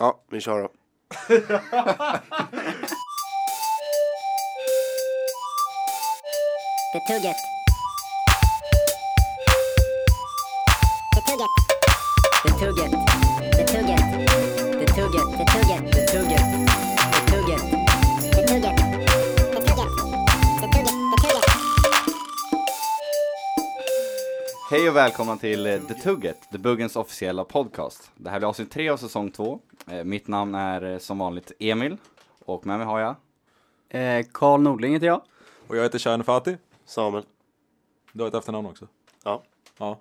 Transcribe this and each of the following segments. Ja, vi kör då. Betugget. Betugget. Betugget. Betugget. Betugget. Betugget. Betugget. Betugget. Betugget. Betugget. Betugget. Betugget. Hej och välkomna till eh, The Tugget, The Buggens officiella podcast. Det här blir avsnitt tre av säsong två. Eh, Mitt namn är eh, som vanligt Emil och med mig har jag Eh, Karl Nordling heter jag. Och jag heter Shahin Fatih. Samuel. Du har ett efternamn också. Ja. Ja.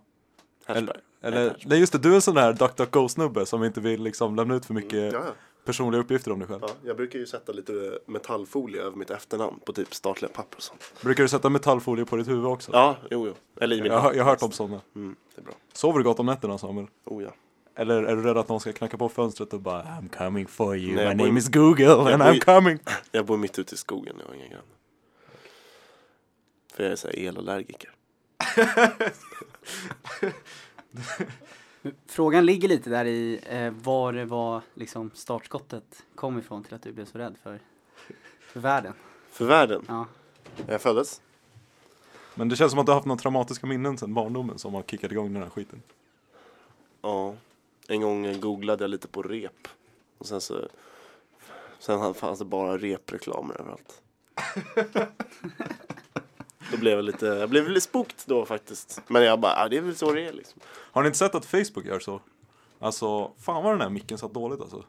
Hashberg. Eller, eller, nej just det, du är en sån här DuckDuckGo-snubbe som inte vill liksom lämna ut för mycket Mm, Ja, ja. personliga uppgifter om dig själv. Ja, jag brukar ju sätta lite metallfolie över mitt efternamn på typ statliga papper och sånt. Brukar du sätta metallfolie på ditt huvud också? Ja, jo, jo. Eller i min Jag, har- jag har hört om sådana. Mm, det är bra. Sover du gott om nätterna Samuel? Oh ja. Eller är du rädd att någon ska knacka på fönstret och bara I'm coming for you, Nej, jag my bor i- name is Google and bor i- I'm coming. Jag bor mitt ute i skogen, jag har inga grannar. För jag är så här elallergiker. Frågan ligger lite där i eh, var det var liksom startskottet kom ifrån till att du blev så rädd för, för världen. För världen, Ja. när jag föddes. Men det känns som att du har haft några traumatiska minnen sedan barndomen som har kickat igång den här skiten. Ja. En gång googlade jag lite på rep. Och sen så... Sen fanns det bara repreklamer överallt. Då blev jag lite, jag blev lite spooked då faktiskt. Men jag bara, ah, det är väl så det är liksom. Har ni inte sett att Facebook gör så? Alltså, fan vad den här micken satt dåligt alltså.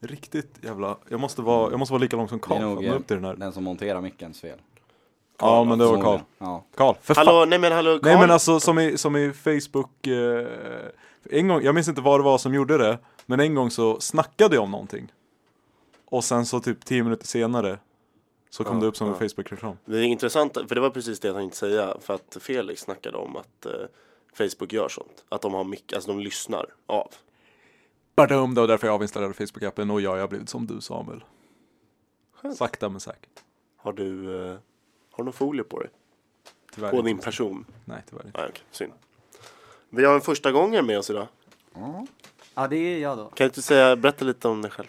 Riktigt jävla, jag måste vara, jag måste vara lika lång som det är Karl för att nog nå eh, upp till den här. den som monterar mickens fel. Ja men det var Karl. Förmodligen. Ja. Karl, för fan. Hallå, nej men hallå Carl. Nej men alltså som i, som i Facebook, eh, en gång, jag minns inte vad det var som gjorde det, men en gång så snackade jag om någonting. Och sen så typ 10 minuter senare så kom Ja, det upp som en ja. Facebook-reklam. Det är intressant, för det var precis det jag tänkte säga. För att Felix snackade om att eh, Facebook gör sånt. Att de har mycket, alltså de lyssnar av. Badum, det var därför jag avinstallerade Facebook-appen och ja, jag har blivit som du Samuel. Sakta men säkert. Har du, eh, har du någon folie på dig? Tyvärr. På inte. din person? Nej, tyvärr inte. Nej okej, synd. Vi har en första gången med oss idag. ja, det är jag då. Kan inte du säga, berätta lite om dig själv?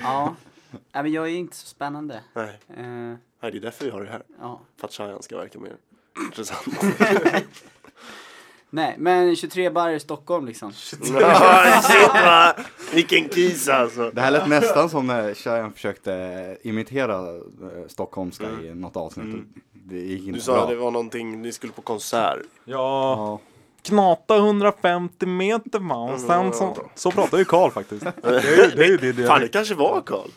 Ja. Nej, men jag är inte så spännande. Nej, Eh, Nej det är därför vi har det här. ja. För att Shayan ska verka mer intressant. Nej, men 23 bar i Stockholm liksom. Ja, shit, va? Vilken kis alltså! Det här lät nästan som när Shayan försökte imitera eh, stockholmska Mm. i något avsnitt. Det gick inte Du bra. sa det var någonting, ni skulle på konsert. Ja, Ja. knata 150 meter man. Och sen så, så pratar ju Karl faktiskt. Det är ju det, är ju det, det Fan det kanske var Karl.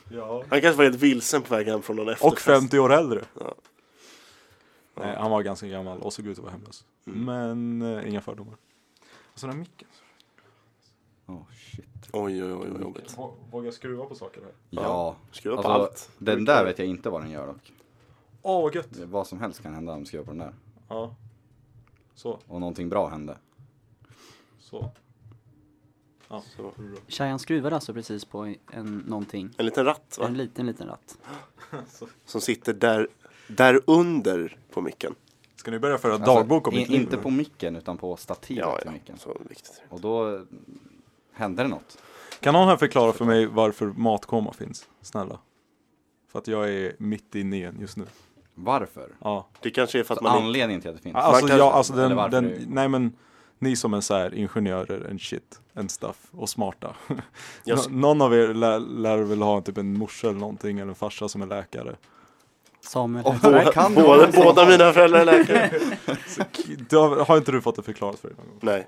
Han kanske var helt vilsen på väg hem från någon efterfest. Och 50 år äldre. Ja. Nej, han var ganska gammal och såg ut att vara hemlös. Mm. Men eh, inga fördomar. Och så Alltså, den här micken. Oh, shit. Oj, oj, oj, vad jobbigt. Våga skruva på saker här. Ja. Skruva på allt. Alltså, den där vet jag inte vad den gör dock. Åh, vad gött! Det- Vad som helst kan hända om du skriver på den där. Ja. Så, Och någonting bra hände. så. Ja. Så. Shayan skruvade alltså precis på en någonting. En liten ratt va? En liten, liten ratt. Som sitter där, där under på micken. Ska ni börja föra Alltså, dagbok om i- mitt liv? Inte på micken utan på stativet Ja, till ja. micken. Så viktigt. Och då eh, hände det något. Kan någon här förklara för mig varför matkoma finns? Snälla. För att jag är mitt inne i en just nu. Varför? Ja. Det kanske är för att Så man inte... anledningen till att det finns. Alltså, kanske- jag, alltså eller den, varför den, det- nej men ni som är så här ingenjörer and shit and stuff och smarta. Jag- Nå- någon av er lär, lär väl ha typ en morsa eller någonting eller en farsa som är läkare. Samuel. Och där kan det vara Båda, så. båda mina föräldrar är läkare. Du har, har inte du fått det förklarat för dig någon gång? Nej.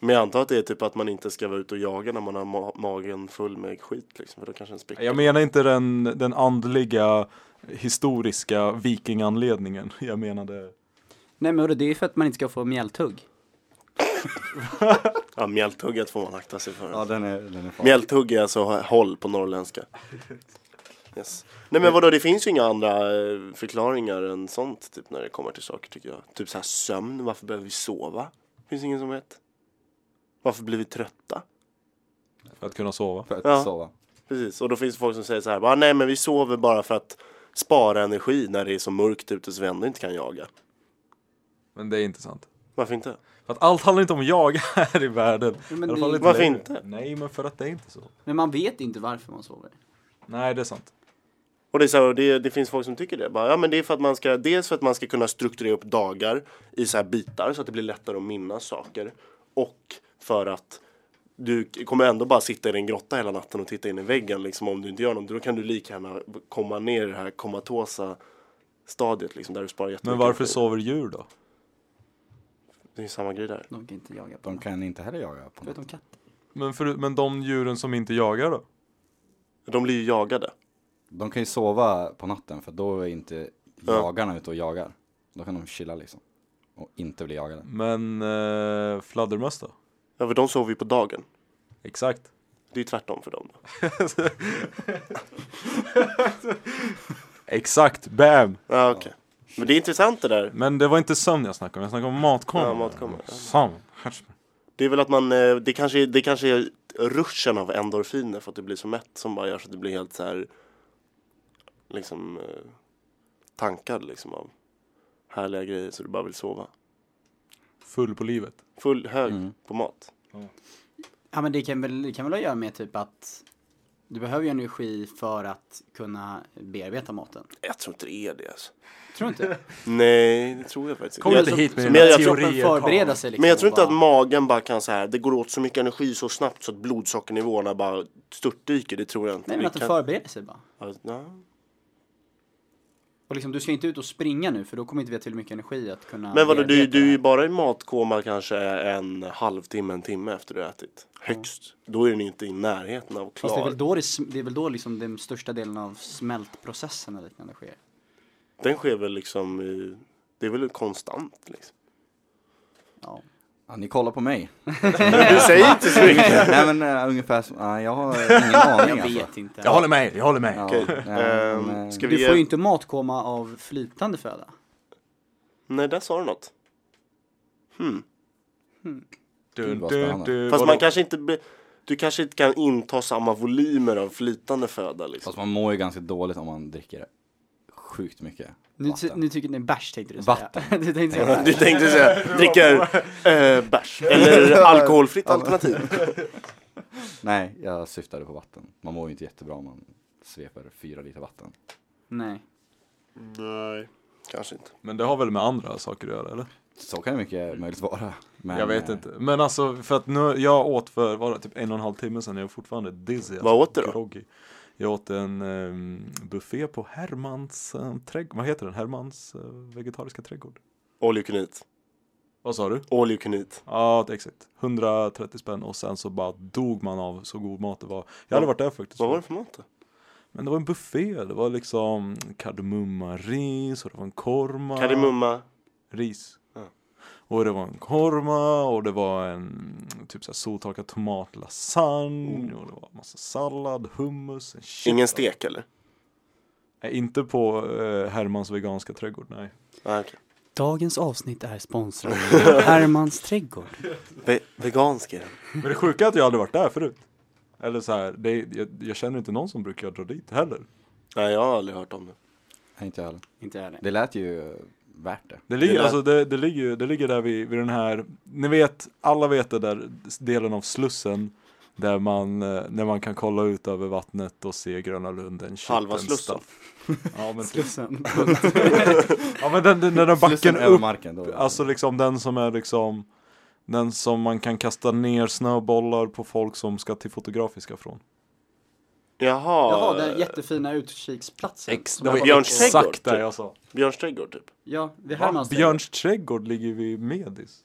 Men jag antar att det är typ att man inte ska vara ute och jaga när man har ma- magen full med skit liksom. För då kanske den spricker. Jag menar inte den, den andliga historiska vikinganledningen. Jag menade Nej, men hörru, det är för att man inte ska få mjältugg. Ja, mjälthugget får man akta sig för. Ja, den är, den är farlig. Mjälthugg är alltså håll på norrländska. Yes. Nej men vadå, det finns ju inga andra eh, förklaringar än sånt typ när det kommer till saker tycker jag. Typ så här sömn, varför behöver vi sova? Finns ingen som vet. Varför blir vi trötta? för att kunna sova. För att Ja. sova. Precis, och då finns det folk som säger så här, bara, nej men vi sover bara för att spara energi när det är så mörkt ute så vi ändå inte kan jaga. Men det är inte sant. Varför inte? För att allt handlar inte om jag här i världen. Jo, men I alla fall det- inte Varför längre. inte? Nej, men för att det är inte så. Men man vet inte varför man sover. Nej, det är sant. Och det, är så här, och det, det finns folk som tycker det. Bara, ja, men det är för att man ska, dels för att man ska kunna strukturera upp dagar i så här bitar så att det blir lättare att minnas saker. Och för att du k- kommer ändå bara sitta i din grotta hela natten och titta in i väggen liksom, om du inte gör något. Då kan du lika gärna komma ner i det här komatosa stadiet liksom, där du sparar jättemycket. Men varför energi. sover djur då? Det är ju samma grej där. De kan inte jaga på De kan inte heller jaga på natten. Förutom katter. Men, för, men de djuren som inte jagar då? De blir ju jagade. De kan ju sova på natten för då är inte jagarna ute och jagar. Då kan de chilla liksom. Och inte bli jagade. Men eh, fladdermöss då? Ja, för de sover ju på dagen. Exakt. Det är ju tvärtom för dem. Då. Exakt, bam! Ja, okej. Men det är intressant det där. Men det var inte sömn jag snackade om, jag snackade om matkameror. Ja, matkameror. Sömn. Herregud. Det är väl att man, eh, det kanske, är- det kanske är ruschen av endorfiner för att du blir så mätt som bara gör så att du blir helt så här liksom eh, tankad liksom av härliga grejer så du bara vill sova. Full på livet. Full hög Mm. på mat. Ja men det kan väl, det kan väl ha att göra med typ att du behöver ju energi för att kunna bearbeta maten. Jag tror inte det är det alltså. Tror du inte? Nej, det tror jag faktiskt Kom Jag inte tror- hit med men dina jag tror- teorier. Kroppen förbereda sig liksom. Men jag tror inte och att magen bara kan så här, det går åt så mycket energi så snabbt så att blodsockernivåerna bara störtdyker, det tror jag inte. Nej men Vi att den kan- förbereder sig bara. Ja, nej. Och liksom du ska inte ut och springa nu för då kommer inte vi ha till mycket energi att kunna Men vadå, du, bearbeta du är det ju här. bara i matkoma kanske en halvtimme, en timme efter du har ätit. Högst. Då är den ju inte i närheten av Fast det är klar. väl då, det, sm- det är väl då liksom den största delen av smältprocessen och liknande sker. Den sker väl liksom i... Det är väl konstant liksom. Ja. Ja, ni kollar på mig. Du säger inte så mycket. nej men eh, ungefär så, nej, jag har ingen aning Jag alltså. vet inte. Jag håller med, jag håller med. Ja, Okej. nej, Ehm, men, eh, ska vi Du får ju ge... inte matkoma av flytande föda. Nej, där sa du något. Hmm. Gud, vad spännande. Fast vadå? man kanske inte... Be... Du kanske inte kan inta samma volymer av flytande föda liksom. Fast man mår ju ganska dåligt om man dricker sjukt mycket Nu, ty- vatten. nu tycker ni bärs tänkte du säga. Vatten. du tänkte säga Du bärs. tänkte säga, dricker äh, bärs. Eller alkoholfritt alternativ. Nej, jag syftade på vatten. Man mår ju inte jättebra om man sveper fyra liter vatten. Nej. Nej, kanske inte. Men det har väl med andra saker att göra eller? Så kan det mycket möjligt vara. Men, jag vet eh, inte. Men alltså för att nu, jag åt för var det, typ en och en halv timme sedan, jag är fortfarande dizzy. alltså, Vad åt du då? Groggy. Jag åt en um, buffé på Hermans eh, trädgård, vad heter den? Hermans eh, vegetariska trädgård. All you can eat. Vad sa du? All you can eat. Ja, exakt. 130 spänn och sen så bara dog man av så god mat det var. Jag hade Vad- varit där faktiskt. Vad var det för mat då? Men det var en buffé, det var liksom kardemumma-ris och det var en korma. Kardemumma. ris. Ja. Och det var en korma och det var en typ så här soltorkad tomatlasagne och det var massa sallad, hummus, en shit. Mm. Ingen stek eller? Nej, inte på eh, Hermans veganska trädgård, nej. Ah, okay. Dagens avsnitt är sponsrat av Hermans trädgård. Ve- vegansk är den. Men det sjuka är att jag aldrig varit där förut. Eller så här, det, är- jag, jag känner inte någon som brukar dra dit heller. Nej, jag har aldrig hört om det. Nej, eh, inte jag heller. Inte jag heller. Det lät ju eh, värt det. Det ligger, Det lät- alltså, det, det ligger, ju- det ligger där vid, vid den här, ni vet, alla vet det där delen av Slussen där man, eh, när man kan kolla ut över vattnet och se Gröna Lunden. shit, Halva and Slussen. stuff. Ja men, typ. Slussen. ja, men den, den, den där backen Slussen över upp, marken då. alltså liksom den som är liksom den som man kan kasta ner snöbollar på folk som ska till fotografiska från. Jaha. Jaha, den jättefina utkiksplatsen. som det jag var var Björns på. trädgård, exakt där typ. jag sa. Björns trädgård typ. Ja, vid Va? Hermans trädgård. Björns trädgård ligger vid Medis.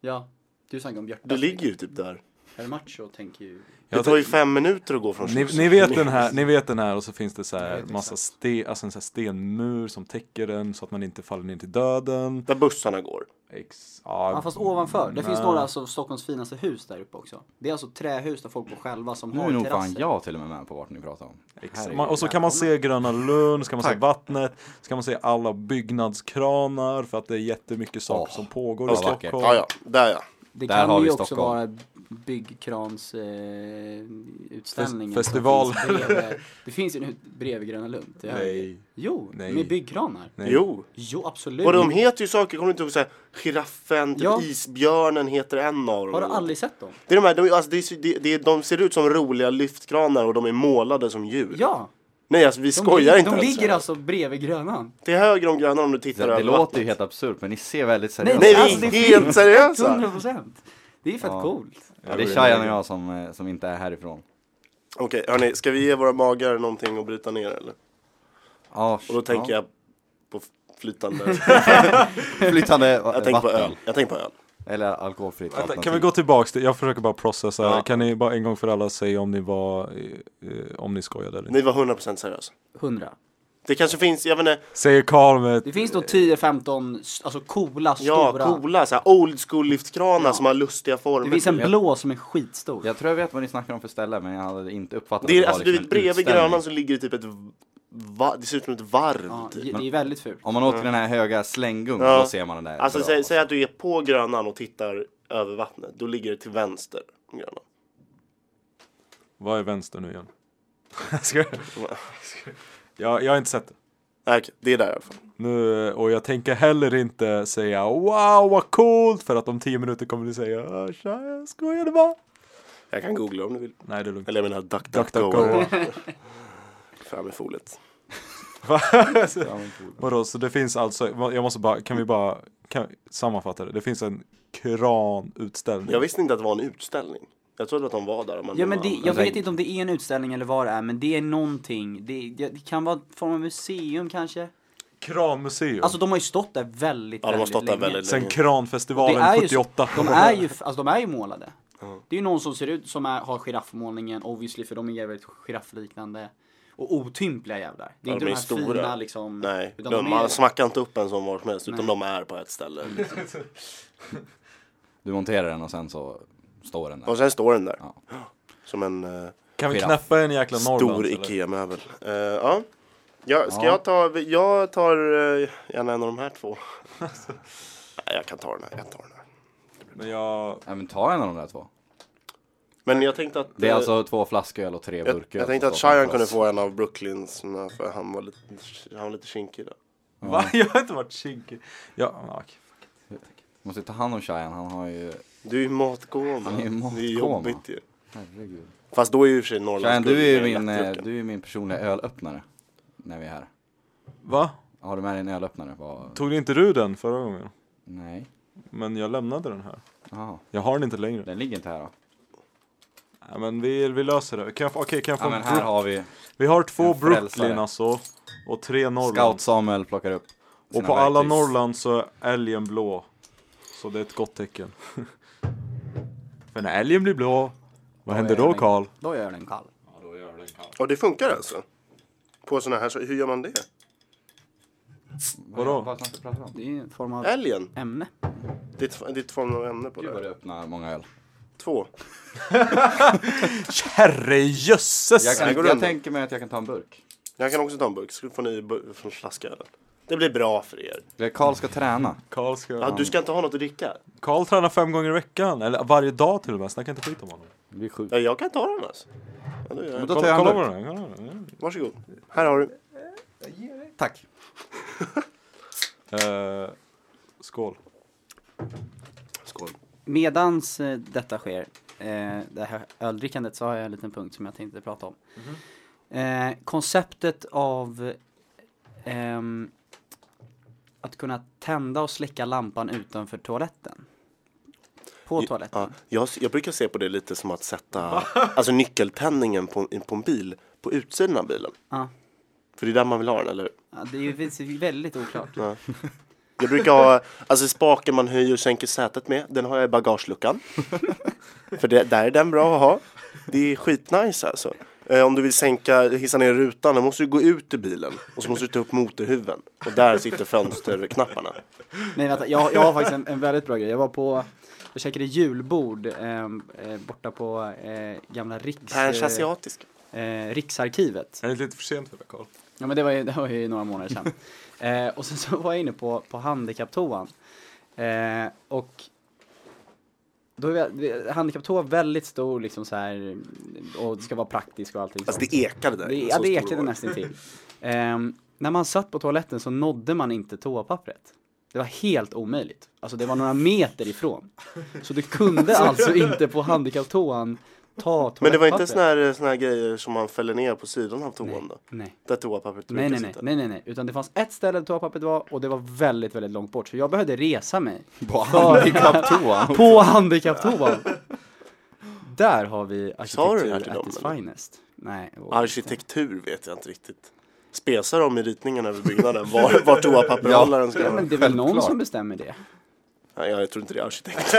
Ja. Du snackade om Björta. Du ligger ju typ där. Hermacho tänker ju. Det tar ju fem minuter att gå från Ni, Slussen ni, till vet den Medis. här, ni vet den här och så finns det så Jag här vet massa ste, alltså en så här stenmur som täcker den så att man inte faller ner till döden. Där bussarna går. Ex, ja, Ja fast ovanför. Det finns nej. några av alltså, Stockholms finaste hus där uppe också. Det är alltså trähus där folk bor själva som nu har är nog fan terrasser. jag till och med med på vart ni pratar om. Ex, Herregud. man, och så kan man se Gröna Lund, så kan man se Tack. vattnet, så kan man se alla byggnadskranar för att det är jättemycket saker Åh, som pågår i vad vackert. Stockholm. Ja, ja. Där ja. Det Där har kan ju vi också Stockholm. vara byggkrans eh, utställningen. Fes- festival. som finns bredvid- Det finns en ut bredvid Gröna Lund. Det har- Nej. Jo, Nej. med byggkranar. Nej. Jo. Jo, absolut. Vad de heter ju saker, kommer du inte ihåg? Såhär, giraffen, typ Ja. isbjörnen heter en av dem. Har du aldrig sett dem? Det är de här, de, alltså, det är, så- det, det, de ser ut som roliga lyftkranar och de är målade som djur. Ja. Nej alltså vi De, skojar lig- inte de ens. ligger alltså bredvid Grönan. Till höger om gröna om du tittar Det, det över låter vattnet. ju helt absurt men ni ser väldigt Nej, seriösa Nej Alltså, vi det är är helt seriösa! 100 procent. Det är fett Ja. coolt. Ja, det är Shayan och jag som, eh, som inte är härifrån. Okej hörni, ska vi ge våra magar någonting att bryta ner eller? Ja, Och då tänker ja. jag på flytande, jag flytande va- jag tänker på vatten. öl. Jag tänker på öl. Eller alkoholfritt Vänta, alternativ. kan vi gå tillbaks till, jag försöker bara processa här. Ja. Kan ni bara en gång för alla säga om ni var, eh, eh, om ni skojade eller inte? Ni var 100% seriösa. 100. Det kanske finns, jag vet inte, Säger Karl med, Det finns nog 10-15 s- alltså coola, ja stora. coola såhär old school lyftkranar som har lustiga former. Det finns en blå som är skitstor. Jag tror jag vet vad ni snackar om för ställe men jag hade inte uppfattat Det är, var alltså du liksom vet en bredvid utställning. Grönan så ligger det typ ett, va, det ser ut som ett varv Ja, typ. det det är väldigt fult. Om man åker den här höga slänggungan Ja. då ser man den där. Alltså bra. säg, säg att du är på Grönan och tittar över vattnet, då ligger det till vänster om Grönan. vad är vänster nu igen? Ska jag? jag, jag har inte sett det. Nej, okej, det är där i alla fall. Nu, och jag tänker heller inte säga wow vad coolt för att om 10 minuter kommer ni säga "Ah, tja, jag skojade bara. Jag kan googla om du vill. Nej det är lugnt. Eller jag menar DuckDuckGo. DuckDuckGo. Fram med foliet. Vadå, så det finns alltså, jag måste bara, kan vi bara kan, sammanfatta det? Det finns en kranutställning. Jag visste inte att det var en utställning. Jag trodde att de var där. Men Ja de men det, var- jag vet inte om det är en utställning eller vad det är men det är någonting. Det, det, det kan vara en form av museum kanske. Kranmuseum. Alltså de har ju stått där väldigt Ja, de har väldigt stått där länge. väldigt Sen länge. Det Kranfestivalen är ju, 78. de är ju, alltså de är ju målade. Det är ju någon som ser ut som är, har giraffmålningen obviously för de är jävligt giraffliknande. Och otympliga jävlar. Det är Ja, de inte de, är här stora. fina liksom. Nej, utan de, de man är- smackar inte upp en som var som helst, utan Nej. Mm. de är på ett ställe. liksom. Du monterar den och sen så står den där. Och sen står den där. Ja. Som en eh, Kan vi Giraff. knäppa en jäkla stor Norrlands eller? IKEA-möbel. Eh, ja. Ja, ska Ja. jag ta, jag tar uh, gärna en av de här två. Nej, jag kan ta den här, jag tar den här. Men jag, Ja, men ta en av de där två. Men jag tänkte att Det är eh, alltså två flasköl och tre jag, burkar. jag tänkte som att står på en Cheyenne kunde plats. få en av Brooklyns, för han var lite, han var lite kinkig där. va? Jag har inte varit kinkig. Ja, men okej. Måste ta hand om Cheyenne, han har ju... Du är ju matkoma. Han är ju Det är matkoma. jobbigt ju. Herregud. Fast då är ju i och för sig Cheyenne, Norrlands du är ju min, eh, du är min personliga ölöppnare. När vi är här. Va? Har du med dig en ölöppnare? På... Tog inte du den förra gången? Nej. Men jag lämnade den här. Jaha. Jag har den inte längre. Den ligger inte här då. Nej, men vi, vi löser det. Kan jag få, okej, kan jag få Ja, men här Bro- har vi Vi har två en frälsare. Brooklyn alltså. Och tre Norrland. Scout Samuel plockar upp. och sina på alla verktygs- Norrland så är älgen blå. Så det är ett gott tecken. För när älgen blir blå, vad händer är den då en- Karl? Då gör den kall. Ja, det funkar alltså? På såna här, så, hur gör man det? Vadå? Vad snackar du pratar om? Det är ju en form av Älgen? ämne. Det är ett- det är ett form av ämne på Gud vad du det. öppnar många öl. Två. Herrejösses! Jag, här kan, går jag undan. tänker mig att jag kan ta en burk. Jag kan också ta en burk, så får ni bu- från flaskölen. Det blir bra för er. Karl ska träna. Karl ska... Ja, du ska inte ha något att dricka? Karl tränar fem gånger i veckan, eller varje dag till och med. Snacka inte skit om honom. Vi är sju. Ja, jag kan ta den alltså. Ja, det gör jag. Då tar Kolla- jag en kolla burk. på den här, kolla på den här. Varsågod. Här har du. Tack. Eh, skål. Skål. Medans eh, detta sker, eh, det här öldrickandet, så har jag en liten punkt som jag tänkte prata om. Mhm. Eh, konceptet av ehm, att kunna tända och släcka lampan utanför toaletten. På toaletten. Ja, jag, jag brukar se på det lite som att sätta alltså, nyckeltändningen på, på en bil, på utsidan av bilen. Ja. För det är där man vill ha den, eller hur? Ja, det är ju det är ju väldigt oklart. Jag brukar ha, alltså spaken man höjer och sänker sätet med, den har jag i bagageluckan. För det, där är den bra att ha. Det är skitnice alltså. Eh, om du vill sänka, hissa ner rutan, då måste du gå ut ur bilen. Och så måste du ta upp motorhuven. Och där sitter fönsterknapparna. Nej vänta, jag, jag har faktiskt en, en väldigt bra grej. Jag var på, jag käkade julbord ehm, eh, borta på eh, gamla Riks, eh, Persiatisk. eh, Riksarkivet. Är det inte lite för sent för det Karl? Ja men det var ju, det var ju några månader sedan. eh, och sen så var jag inne på, på handikapptoan. Eh, och då är vi, handikapptå är väldigt stor liksom så här och det ska vara praktisk och allting Alltså sånt. det ekade där. Det, inne, ja, så det stor ekade var nästan till. Ehm, när man satt på toaletten så nådde man inte toapappret. Det var helt omöjligt. Alltså det var några meter ifrån. Så du kunde alltså inte på handikapptoan ta toalettpappret. Men det var inte såna här, såna här grejer som man fäller ner på sidan av toan då? Nej. Där toapappret Nej, brukar nej, nej, sitta. nej, nej, nej, utan det fanns ett ställe där toapappret var och det var väldigt, väldigt långt bort. Så jag behövde resa mig På handikapptoan. på handikapptoan. Där har vi Sa du det arkitektur här till at dem, its eller? finest. Nej. det vågar jag inte. Arkitektur vet jag inte riktigt. Spesar de i ritningen över byggnaden var, var toapapperhållaren ska Ja, vara? men det är väl någon Självklart. som bestämmer det. Nej, jag tror inte det är arkitekt.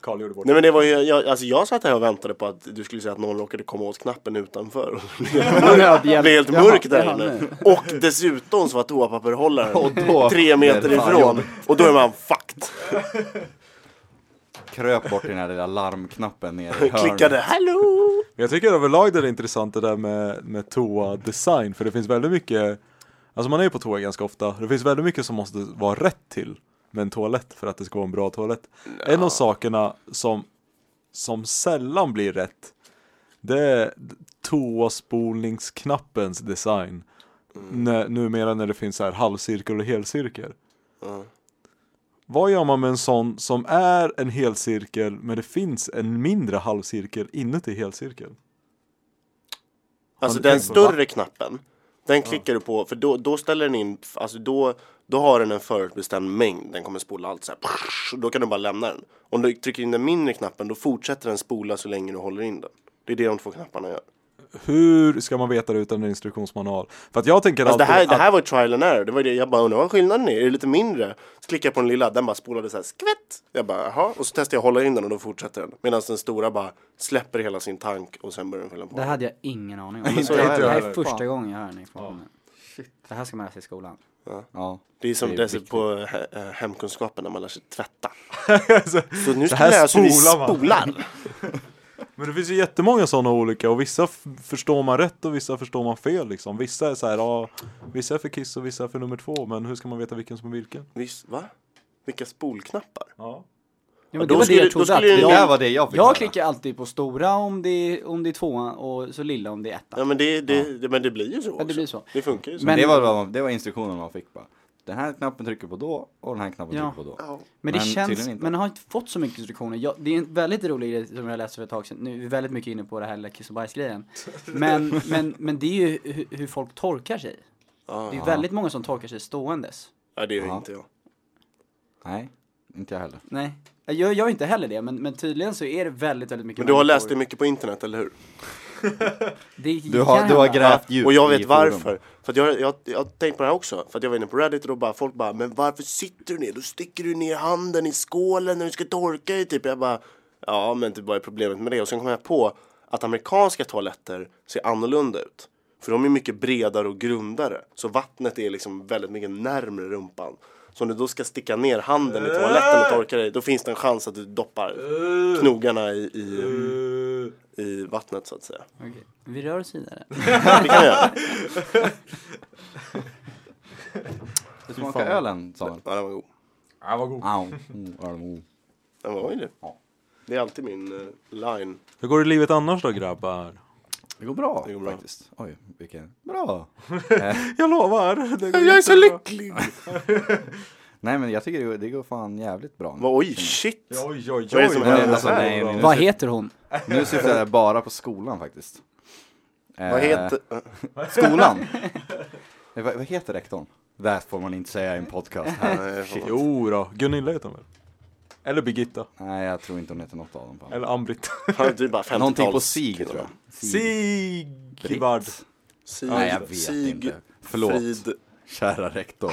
Karl gjorde bort Nej men det var ju, jag, alltså jag satt här och väntade på att du skulle säga att någon råkade komma åt knappen utanför. Det blev helt mörkt där inne. Och dessutom så var Och toapapperhållaren då tre blev meter det fan ifrån. jobbigt. Och då är man fucked. Kröp bort i den här lilla larmknappen nere i Klickade hörnet. hallå! Men Jag tycker överlag det är intressant det där med, med toa-design, för det finns väldigt mycket Alltså man är ju på toa ganska ofta, det finns väldigt mycket som måste vara rätt till med en toalett för att det ska vara en bra toalett. En av sakerna som, som sällan blir rätt, det är toaspolningsknappens design. När, numera när det finns så här halvcirkel och helcirkel. Vad gör man med en sån som är en helcirkel men det finns en mindre halvcirkel inuti helcirkeln? Alltså Har ni den tänkt på det? större knappen, den klickar du på för då, då ställer den in, alltså då, då har den en förutbestämd mängd, den kommer spola allt så här, och då kan du bara lämna den. Om du trycker in den mindre knappen då fortsätter den spola så länge du håller in den. Det är det de två knapparna gör. Hur ska man veta det utan en instruktionsmanual? För att jag tänker Alltså det alltid här, det att- här var ju trial and error, det var ju det, jag bara undrar vad skillnaden är, är det lite mindre? Så klickar jag på den lilla, den bara spolade så här skvätt! Jag bara jaha, och så testar jag att hålla in den och då fortsätter den. Medan den stora bara släpper hela sin tank och sen börjar den fylla på. Det hade jag ingen aning om. Inte det jag här är heller. första gången jag hör den informationen. Det här ska man läsa i skolan. Ja. Det är som det är är så på he- eh, hemkunskapen när man lär sig tvätta. alltså, så nu ska här vi lära oss hur vi spolar man. spolar. Men det finns ju jättemånga sådana olika och vissa f- förstår man rätt och vissa förstår man fel liksom. Vissa är så här, ja, vissa är för Kiss och vissa är för nummer två, men hur ska man veta vilken som är vilken? Visst, va? Vilka spolknappar? Ja. Ja, Ja, men då det var det skulle- jag då trodde att skulle ju- Det jag, där var det jag fick höra. jag klickar alltid på stora om det, är- om det är tvåan och så lilla om det är Ja ettan. men det, det, det, men det blir ju så det också. blir så. Det funkar ju så. Men- Det var, vad man- det var instruktionen man fick bara. Den här knappen trycker på då och den här knappen Ja. trycker på då. Ja. Men det Men känns, tydligen inte. men jag har inte fått så mycket instruktioner. Jag, det är en väldigt rolig grej som jag läste för ett tag sedan. Nu är vi väldigt mycket inne på det här lilla kiss och bajs-grejen. Men, men, men det är ju hur, hur folk torkar sig. Ah. Det är ju väldigt många som torkar sig ståendes. Ja, det gör Ja. inte jag. Nej, inte jag heller. Nej. Jag jag gör inte heller det, men, men tydligen så är det väldigt, väldigt mycket Men du har människor- läst det mycket på internet, eller hur? Det Du har, kan du har hända. grävt djupt Och jag i vet forum. varför. För att jag, jag, jag har tänkt på det här också. För att jag var inne på Reddit och då bara, folk bara, men varför sitter du ner? Då sticker du ner handen i skålen när du ska torka dig typ. Jag bara, ja men typ vad är problemet med det? Och sen kom jag på att amerikanska toaletter ser annorlunda ut. För de är mycket bredare och grundare. Så vattnet är liksom väldigt mycket närmre rumpan. Så om du då ska sticka ner handen i toaletten och torka dig, då finns det en chans att du doppar knogarna i, Eh, i, i vattnet så att säga. Okej. Vi rör oss vidare. Det kan jag göra. Du smakar ölen, sa han. Ja, den var god. Ja, vad god. Au. Mm, öl, mm. Den var ju det. Ja. Det är alltid min eh, line. Hur går det i livet annars då grabbar? Det går bra Det går bra. faktiskt. Oj, vilken... Bra! Jag lovar! Det går Jag är så jättebra. lycklig! Nej men jag tycker det går, det går fan jävligt bra. Vad- Oj, shit! Oj, oj, oj. Vad är det som oj, händer? oj, Alltså, oj, nej, oj. nej, Vad heter hon? Nu syftar jag bara på skolan faktiskt. Vad heter... eh, Skolan! Eh, vad, vad heter rektorn? Det får man inte säga i en podcast här. nej, fan. Jo då, Gunilla heter hon väl? Eller Birgitta, Nej jag tror inte hon heter något av dem. Fan. eller Ann-Britt. Han är typ bara 50-tals... Någonting på SIG tror jag. Sigvard. Sig, Nej jag vet Sig- inte. Förlåt, Frid. kära rektor.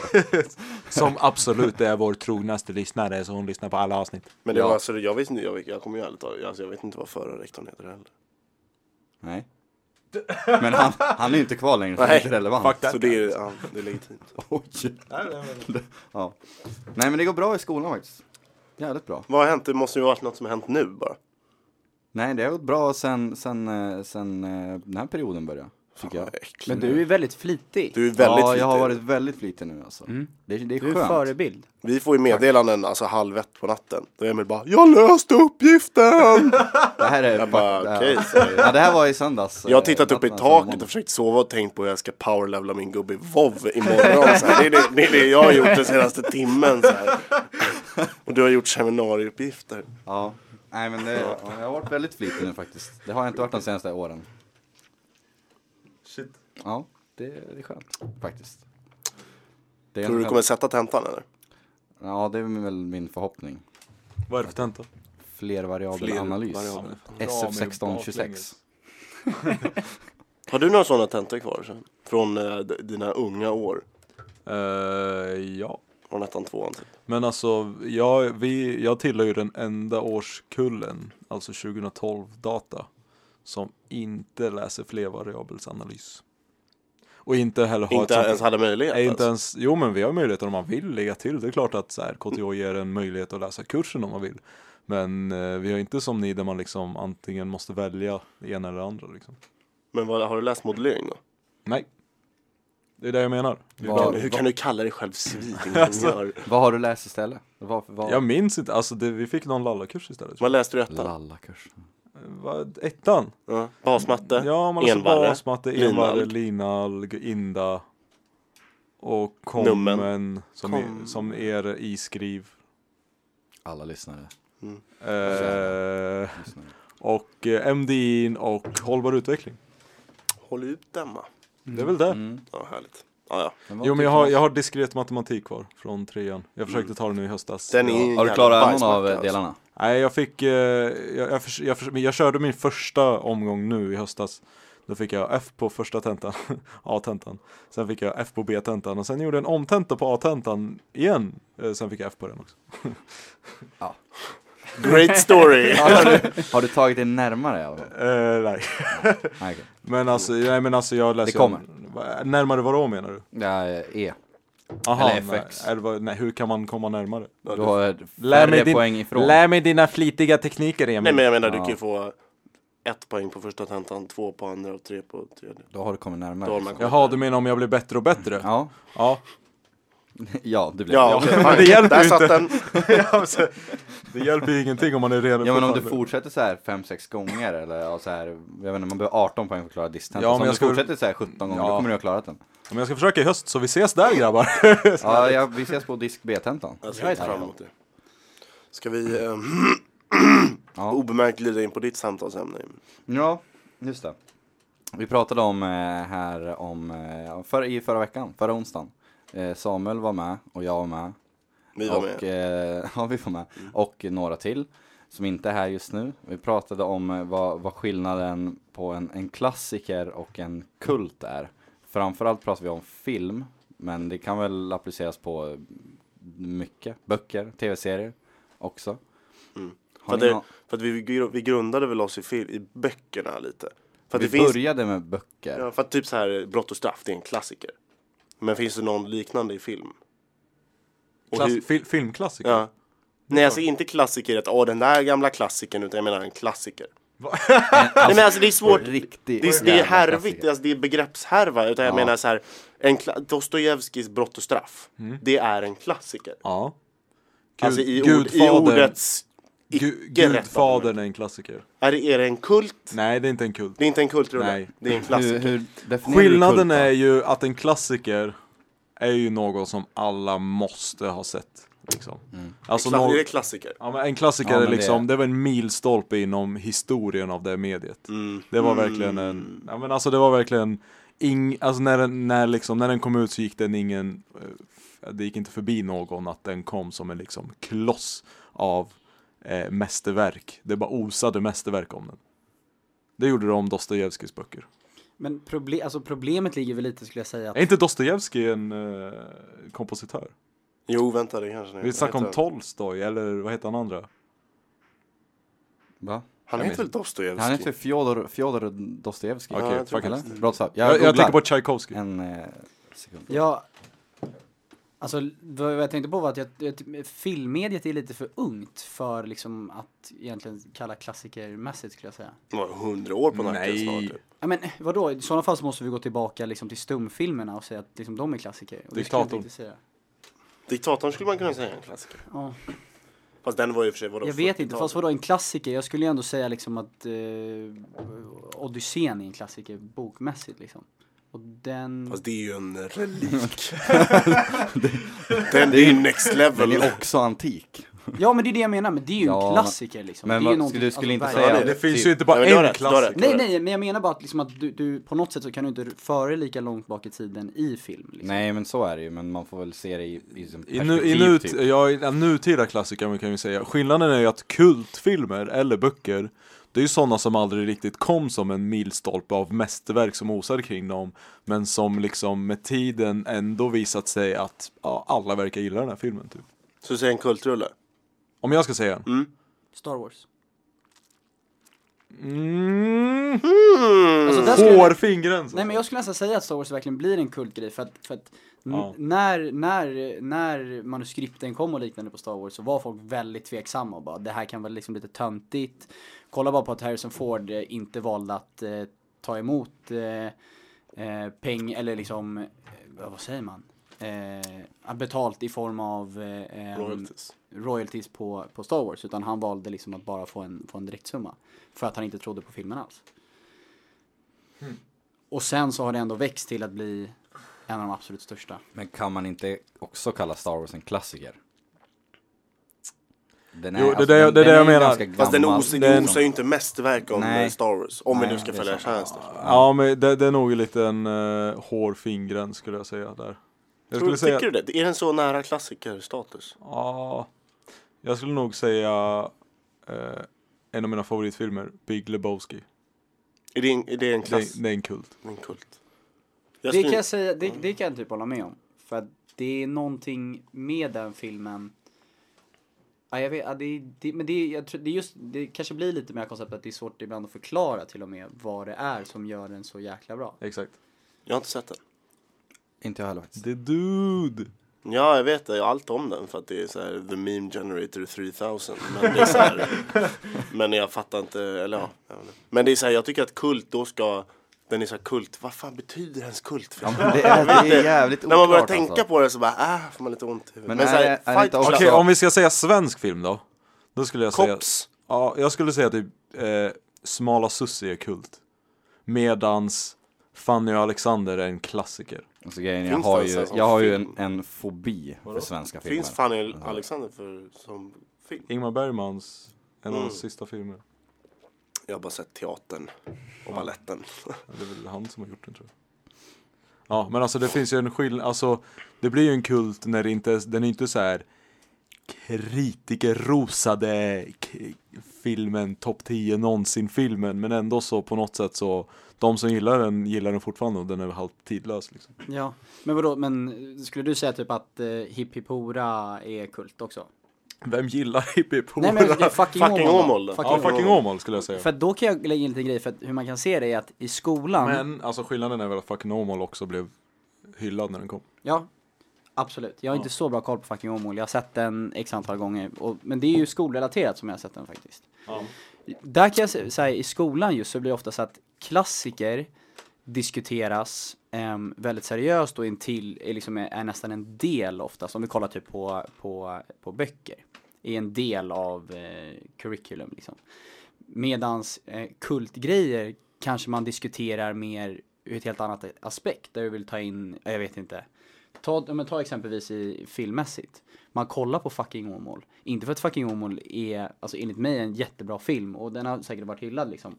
Som absolut är vår trognaste lyssnare, så hon lyssnar på alla avsnitt. Men det Ja. var alltså, jag vet inte, jag, vet, jag kommer ju ärligt talat- alltså, jag vet inte vad förra rektorn heter heller. Nej. Men han, han är ju inte kvar längre så det är Nej, inte relevant. fuck that. Så det är, ja, det är legitimt. Oj. Ja. Nej men det går bra i skolan faktiskt. Jävligt bra. Vad har hänt? Det måste ju ha varit något som har hänt nu bara. Nej det har gått bra sen, sen, eh, sen eh, den här perioden började. tycker jag. Men du är väldigt flitig. Du är väldigt Mm. ja, jag har flitig. varit väldigt flitig nu alltså. Det, det är Du är skönt. förebild. Vi får ju meddelanden alltså halv ett på natten. Då är Emil bara Jag löste uppgiften! Det här är Jag bara, det här- okej, ja, det här var i söndags. Jag har eh, tittat upp i natten, alltså, måndag. taket och försökt sova och tänkt på hur jag ska powerlevla min gubbe i WoW imorgon. Så här. Det, är det, det är det jag har gjort den senaste timmen. Så här. Och du har gjort seminarieuppgifter. Ja. Nej men det, ja, jag har varit väldigt flitig nu faktiskt. Det har jag inte varit de senaste åren. Shit. Ja, det, det är skönt faktiskt. Det är Tror du skönt. du kommer sätta tentan eller? Ja, det är väl min förhoppning. Vad är det för tenta? Flervariabelanalys. Flervariabel. SF1626. Har du några sådana tentor kvar? Sen? Från eh, d- dina unga år? Eh, ja. Från ettan, tvåan typ? Men alltså, jag, vi, jag tillhör ju den enda årskullen, alltså 2012-data, som inte läser flervariabelsanalys. Och inte heller har Inte ett sånt- ens hade möjlighet? Nej, inte alltså. ens, jo men vi har möjlighet om man vill lägga till. Det är klart att så här, KTH ger en möjlighet att läsa kursen om man vill. Men eh, vi har inte som ni där man liksom antingen måste välja det ena eller det andra. Liksom. Men vad, har du läst modulering då? Nej. Det är det jag menar. Vi Vad- bara- Hur kan du kalla dig själv Alltså. civilingenjör? Vad har du läst istället? Vad, vad? Jag minns inte, alltså det, vi fick någon lallakurs istället. tror Vad läste du i ettan? Lallakurs. jag. Vad- Ettan? Ja. Basmatte? Ja, man läser Envarre, basmatte, envarre, linalg. linalg, inda och Nummen. kommen som, Kom- Är, som är iskriv. Alla lyssnare. Eh, lyssnare. och eh, MDIN och hållbar utveckling. Håll ut Emma. Det är väl det. Ja, härligt. Ja, ja. Mm. vad Jo men jag tycker har, du? jag har diskret matematik kvar från trean. Jag försökte ta det nu i höstas. Mm. Den är ju en Har du jävla klarat någon bajsmacka, av eh, alltså. delarna? Nej jag fick, eh, jag, jag, förs- jag, förs- men jag körde min första omgång nu i höstas. Då fick jag F på första tentan, A-tentan. Sen fick jag F på B-tentan och sen gjorde jag en omtenta på A-tentan igen. Eh, Sen fick jag F på den också. Great story! Har du tagit det närmare i alla fall? Eh, nej. Nej, okej. Men alltså, nej men alltså jag läser Det kommer. Va- Närmare vadå menar du? Ja, eh, E. Aha, Eller FX. Nej, eller vad- nej, hur kan man komma närmare? Du har färre poäng ifrån. mig dina flitiga tekniker Emil. Nej men jag menar du Ja. kan ju få ett poäng på första tentan, två på andra och tre på tredje. Då har du kommit närmare. liksom. Då har man kommit. Jaha, du menar om jag blir bättre och bättre? Ja, Ja. ja det blir Ja, ja. okej, men fine. det hjälper Där ju satt inte. den. Alltså, Det hjälper ju ingenting om man är redo ja men om du fortfarande. fortsätter så här 5-6 gånger eller ja, så här, jag vet inte, man behöver 18 poäng för att klara distant. Ja, Ja, men om jag du ska- fortsätter så här 17 gånger Ja. då kommer du ha klarat den. Men jag ska försöka i höst, så vi ses där grabbar. Ja, ja, vi ses på disk B-tentan. Jag ser inte fram emot det. Ska vi eh, Ja. obemärkt glida in på ditt samtalsämne? Ja, just det. Vi pratade om eh, här om, eh, för, i förra veckan, förra onsdagen. Eh, Samuel var med och jag var med. Vi var och, med. Eh, ja, vi var med. Och några till som inte är här just nu. Vi pratade om eh, vad, vad skillnaden på en, en klassiker och en kult är. Framförallt pratar vi om film, men det kan väl appliceras på eh, mycket. Böcker, tv-serier också. Mm. För Har att, ni det, nå- för att vi, gru- vi grundade väl oss i, fil, i böckerna lite. För att vi det finns, började med böcker. ja, för att typ så här Brott och straff, det är en klassiker. Men finns det någon liknande i film? Och Klass, hur- fil, filmklassiker. Ja. Nej, alltså inte klassiker att åh den där gamla klassikern, utan jag menar en klassiker. Nej men alltså det är svårt, Riktig det är, det är jävla härvigt, klassiker. alltså, det är begreppshärva. Utan jag Ja. menar så här, en kla- Dostojevskijs Brott och straff, det är en klassiker. Ja. alltså i, ord, i Gudfadern- ordets icke Gu- rätta Gudfadern bemärkelse. är en klassiker. Är, det- är det en kult? Nej, det är inte en kult. Det är inte en kultrulle, Nej. det är en Hur, klassiker. hur definierar Skillnaden du är kult, ju att en klassiker är ju något som alla måste ha sett. Liksom. Alltså Kla- nå- är Mm. det klassiker? Ja, men en klassiker Ja, är men det- liksom, det... var en milstolpe inom historien av det mediet. Mm. Det var verkligen en, ja men alltså det var verkligen, ing, alltså när den, när liksom, när den kom ut så gick den ingen, eh, f- det gick inte förbi någon att den kom som en liksom kloss av eh, mästerverk. Det bara osade mästerverk om den. Det gjorde de om Dostojevskijs böcker. Men proble- alltså problemet ligger väl lite skulle jag säga. Att, Är inte Dostojevskij en eh, kompositör? Jo, vänta det kanske Vi snackade om Tolkien. Tolstoj, eller vad heter han andra? Va? Han heter väl Han typ- Dostojevskij? heter Fjodor, Fjodor Dostojevskij. Ja, Okej, jag tror fuck it. Eller? Brottsfall. Jag, Jag, jag googlar. tänker på Tchaikovsky. En eh, sekund. ja, Alltså vad vad jag tänkte på var att jag, jag, filmmediet är lite för ungt för liksom att egentligen kalla klassikermässigt skulle jag säga. Det var hundra år på nacken Nej. snart. typ. Ja men vadå, i sådana fall så måste vi gå tillbaka liksom till stumfilmerna och säga att liksom de är klassiker. Och det skulle jag inte Diktatorn. riktigt säga. Diktatorn skulle man kunna säga är en klassiker. Ja. Fast den var ju i och för sig vadå? Jag vet inte, 40-tal? fast vadå en klassiker? Jag skulle ju ändå säga liksom att eh, Odysseen är en klassiker bokmässigt liksom. Och den... Fast det är ju en relik. den är ju next Den level. är också antik. Ja men det är det jag menar, men det är ju Ja, en klassiker liksom. men det är vad- ju någonting- du skulle inte verkligen. säga Ja, Ja, det, det- finns typ. ju inte bara Nej, men du har en rätt, du har rätt. klassiker. Nej, nej, men jag menar bara att, liksom att du, du, på något sätt så kan du inte föra lika långt bak i tiden i film. Liksom. Nej men så är det ju, men man får väl se det i, i som I, perspektiv nu, i nut, typ. ja, i- ja, nutida klassiker man kan ju säga. Skillnaden är ju att kultfilmer eller böcker, det är ju sådana som aldrig riktigt kom som en milstolpe av mästerverk som osar kring dem. Men som liksom med tiden ändå visat sig att ja, alla verkar gilla den här filmen typ. Så säg en kultrulle. Om jag ska säga en. Star Wars. Mm. Alltså, där skulle jag- Hårfingren! så. Nej men jag skulle nästan säga att Star Wars verkligen blir en kultgrej för att, för att n- Ja. när, när, när manuskripten kom och liknande på Star Wars så var folk väldigt tveksamma och bara det här kan vara liksom lite töntigt. Kolla bara på att Harrison Ford eh, inte valde att eh, ta emot eh, eh, peng eller liksom, eh, vad säger man? Eh, betalt i form av eh, Mm. ehm, Royalties. royalties på, på Star Wars utan han valde liksom att bara få en, få en direktsumma. För att han inte trodde på filmen alls. Och sen så har det ändå växt till att bli en av de absolut största. Men kan man inte också kalla Star Wars en klassiker? Den Jo, det är det- det är det jag ju menar. ganska Fast den gammal. os- den Den- osar ju inte mästerverk om Nej. eh, Star Wars. Om Nej, vi nu ska det är följa sant. tjänsten. Ja men det, det är nog en liten uh, hårfingren skulle jag säga där. Jag Tror, skulle tycker du det? Är den så nära klassikerstatus? Ja, jag skulle nog säga eh, en av mina favoritfilmer, Big Lebowski. Är det en, är det en Det klass? är, det är en kult. En kult? Jag Det skulle- kan jag säga, det, det kan jag typ hålla med om. För att det är någonting med den filmen. Ja, jag vet, ja, det, det, men det, jag tror, det, är just, det kanske blir lite mer konceptet att det är svårt ibland att förklara till och med vad det är som gör den så jäkla bra. Exakt. Jag har inte sett den. Inte jag heller faktiskt. The Dude! Ja, jag vet det. Jag har allt om den för att det är så här The Meme Generator 3000. Men, det är så här, men jag fattar inte, eller ja. jag vet inte. Men det är så här, jag tycker att kult då ska, den är så här kult, vad fan betyder ens kult? Ja, men det, är, det är jävligt När man börjar oklart, tänka alltså. på det så bara, äh, får man lite ont i huvudet. Men så här, är det- är det inte Fight också- Okej, Club, om vi ska säga svensk film då? Då skulle Alltså, jag säga... Kops. Ja, jag skulle säga typ eh, Smala Sussie är kult. Medans Fanny och Alexander är en klassiker. Alltså, grejen, är, jag Finns har det ju, alltså jag har ju en, film? en fobi för svenska filmer. Finns Fanny Alexander för, som film? Ingmar Bergmans, en av Mm. hans sista filmer. Jag har bara sett teatern och balletten. Det är väl han som har gjort den tror jag. Ja, men alltså det finns ju en skillnad, alltså det blir ju en kult när det inte, den är inte så här kritikerrosade k- filmen, topp 10 någonsin filmen, men ändå så på något sätt så de som gillar den gillar den fortfarande och den är halvt tidlös liksom. Ja, men vadå, men skulle du säga typ att eh, Hipp Hipp Hora är kult också? Vem gillar hippie Nej men det är fucking, Fucking Åmål Åmål då. då. Ja, fucking Åmål skulle jag säga. För att då kan jag lägga in lite grejer för att hur man kan se det är att i skolan, Men alltså skillnaden är väl att fucking Åmål också blev hyllad när den kom. ja absolut. Jag har inte så bra koll på fucking Åmål, jag har sett den x antal gånger. Och, men det är ju skolrelaterat som jag har sett den faktiskt. Där kan jag sä- säga i skolan just så blir det ofta så att klassiker diskuteras ehm, väldigt seriöst och intill, är, liksom, är, är nästan en del oftast, om vi kollar typ på, på, på böcker, är en del av eh, curriculum liksom. Medans eh, kultgrejer kanske man diskuterar mer ur ett helt annat aspekt, där du vill ta in, jag vet inte, Ta, ja, men ta exempelvis i filmmässigt. Man kollar på fucking Åmål. Inte för att fucking Åmål är, alltså enligt mig, en jättebra film och den har säkert varit hyllad liksom.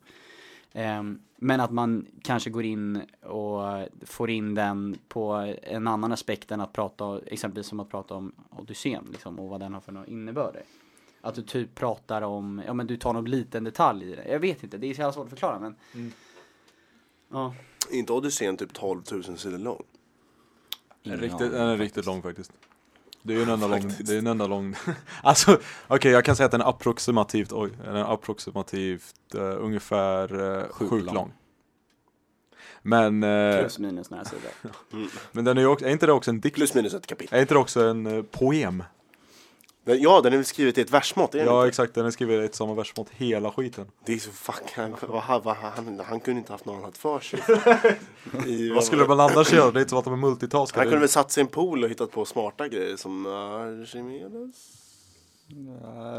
Ehm, men att man kanske går in och får in den på en annan aspekt än att prata, exempelvis som att prata om Odysseen liksom och vad den har för några innebörder. Att du typ pratar om, ja men du tar någon liten detalj i det. Jag vet inte, det är så jävla svårt att förklara men. Ja. Är inte Odysseen typ 12 000 sidor lång? Mm, Den är Ingen riktigt, aning, den är faktiskt. riktigt lång faktiskt. Det är ju en enda lång, det är en enda lång. alltså okej jag kan säga att den är approximativt, oj, den är approximativt eh, ungefär uh, Sjukt sjukt lång. lång. Men, eh, Plus minus några sidor. men den är ju också, är inte det också en dikt? Plus minus ett kapitel. Är inte det också en eh, poem? Men Ja, den är väl skriven i ett versmått. Är den Ja inte? exakt, den är skriven i ett samma versmått hela skiten. Det är så fuck, han, vad, han- vad, han, han kunde inte haft något annat för sig. I, Vad skulle man annars göra? Det är inte som att de är multitaskare. han kunde väl satt sig i en pool och hittat på smarta grejer som Archimedes?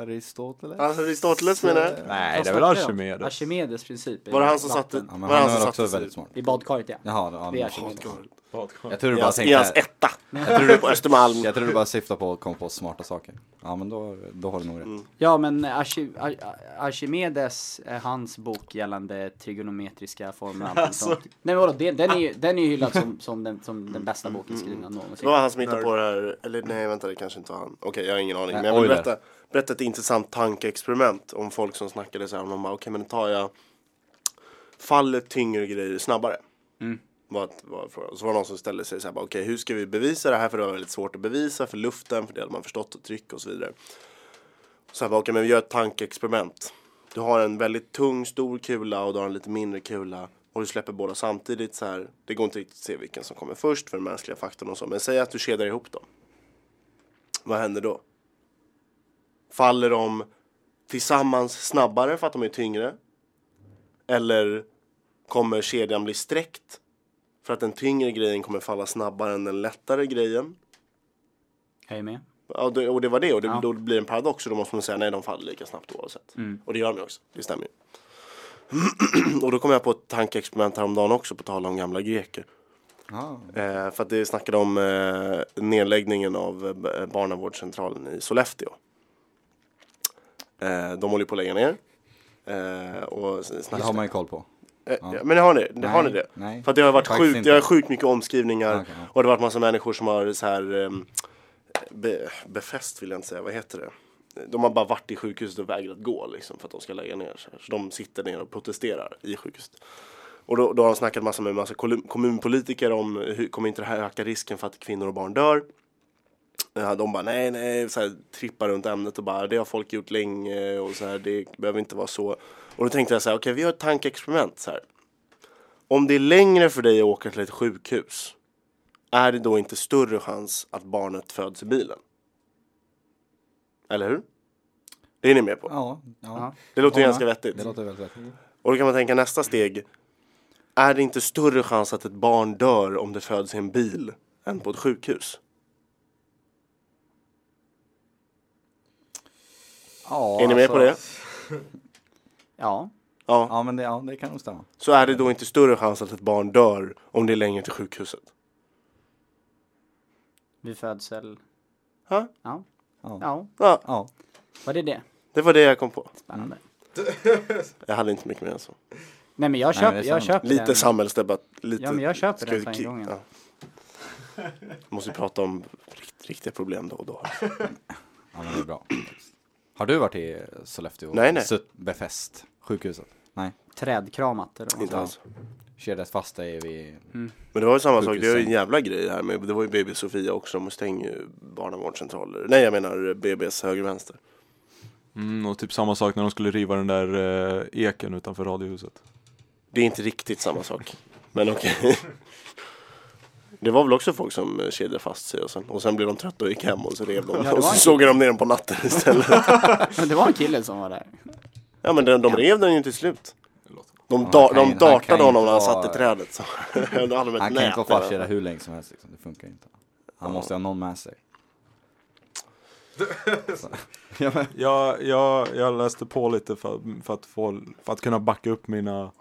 Aristoteles? Alltså Aristoteles menar jag. Nej, det är Fast väl vad- Archimedes? Archimedes princip. är Var det han som vatten. satte... var Ja, men det han som är satte också sig- väldigt smart. I badkaret ja. Jaha, ja, Det är men- Archimedes. Badkar. jag tror du I bara hans, I hans tänkte, etta. På Östermalm. jag tror du bara syftar på att komma på smarta saker. Ja men då, då har du nog rätt. Mm. Ja men Archi- Ar- Ar- Archimedes, eh, hans bok gällande trigonometriska former och allting Alltså. sånt. Nej men vadå, den, den är ju den är ju hyllad som, som, den, som den bästa Mm. boken skriven Det någonsin. var han som hittade på det här, eller nej vänta det kanske inte var han. Okej jag har ingen aning. Nej, Men jag vill oj där. berätta, berätta ett intressant tankeexperiment om folk som snackade så här. Man bara okej men då tar jag fallet tyngre grejer snabbare. Mm. Var, ett- var ett fråga. och så var det någon som ställde sig så här bara okej hur ska vi bevisa det här för det var väldigt svårt att bevisa för luften för det hade man förstått och tryck och så vidare. Så här bara okej men vi gör ett tankeexperiment. Du har en väldigt tung stor kula och du har en lite mindre kula och du släpper båda samtidigt så här. Det går inte riktigt att se vilken som kommer först för den mänskliga faktorn och så men säg att du kedjar ihop dem. Vad händer då? Faller de tillsammans snabbare för att de är tyngre? Eller kommer kedjan bli sträckt för att den tyngre grejen kommer falla snabbare än den lättare grejen? Jag är med. Ja, det- Och det var det och det, Ja. då blir det en paradox och då måste man säga nej de faller lika snabbt oavsett. Och det gör de ju också, det stämmer ju. och då kom jag på ett tankeexperiment häromdagen också på tal om gamla greker. Ja. Eh, för att det snackade om eh, nedläggningen av eh, b- barnavårdscentralen i Sollefteå. Eh, de håller ju på att lägga ner. Eh, och Det snackade, har man ju koll på. eh, ja. Men har ni, har ni Nej, det? nej. För att det har varit Faktiskt sjukt, inte. det har varit sjukt mycket omskrivningar. Okej, ja. Och det har varit massa människor som har så här ehm, be, befäst vill jag inte säga, vad heter det? De har bara varit i sjukhuset och vägrat gå liksom, för att de ska lägga ner. Så, här. så de sitter ner och protesterar i sjukhuset. Och då, då har de snackat massa med massa kollum- kommunpolitiker om hur kommer inte det här öka risken för att kvinnor och barn dör? Ja, de bara nej, nej, så här, trippar runt ämnet och bara det har folk gjort länge och så här, det behöver inte vara så. Och då tänkte jag så här, okej vi gör ett tankeexperiment så här. Om det är längre för dig att åka till ett sjukhus, är det då inte större chans att barnet föds i bilen? Eller hur? Det är ni med på? Ja, ja. Det låter ju Ja, ganska vettigt. Det låter väldigt vettigt. Och då kan man tänka nästa steg. Är det inte större chans att ett barn dör om det föds i en bil än på ett sjukhus? Ja, är ni med på det? alltså, Ja. Ja. Ja men det, ja, det kan nog stämma. Så är det då inte större chans att ett barn dör om det är längre till sjukhuset? Vid födsel. Ja. Ja. Ja. Ja. Ja, Ja. Var det det? det var det jag kom på. Spännande. Mm. Jag hade inte mycket mer än så. Nej men jag Nej, köper, men det är jag sant. köper Lite den. samhällsdebatt. Lite... Ja, men jag köper Ska den vi för en ki- gång, ja. Ja. Måste ju prata om rikt- riktiga problem då och då. Ja men det är bra. Har du varit i Sollefteå? Nej, nej. Sutt- Befäst? Sjukhuset? Nej. Trädkramat eller vad Inte man alls. säger. Kedjades fast dig vid... Men det var ju samma sak, Sjukhus det var ju en säng. jävla grej här med, det var ju BB Sofia också, de stänger ju barnavårdscentraler. Nej jag menar BBs höger vänster. Mm, och typ samma sak när de skulle riva den där eh, eken utanför radiohuset. Det är inte riktigt samma sak. Men okej. Det var väl också folk som eh, kedjade fast sig och sen, och sen blev de trötta och gick hem och så rev de. Ja, det var och så en- såg de ner den på natten istället. Men det var en kille som var där. Ja men de, de rev den ju till slut. De, han da, kan ju- de han kan dartade ju honom inte när han vara- satt i trädet. Så. Då hade de ett Han kan nät inte mellan. vara fast kedjad hur länge som helst liksom. det funkar inte. Han måste ju ha någon med sig. Jag, jag, jag läste på lite för, för, att få, för att kunna backa upp mina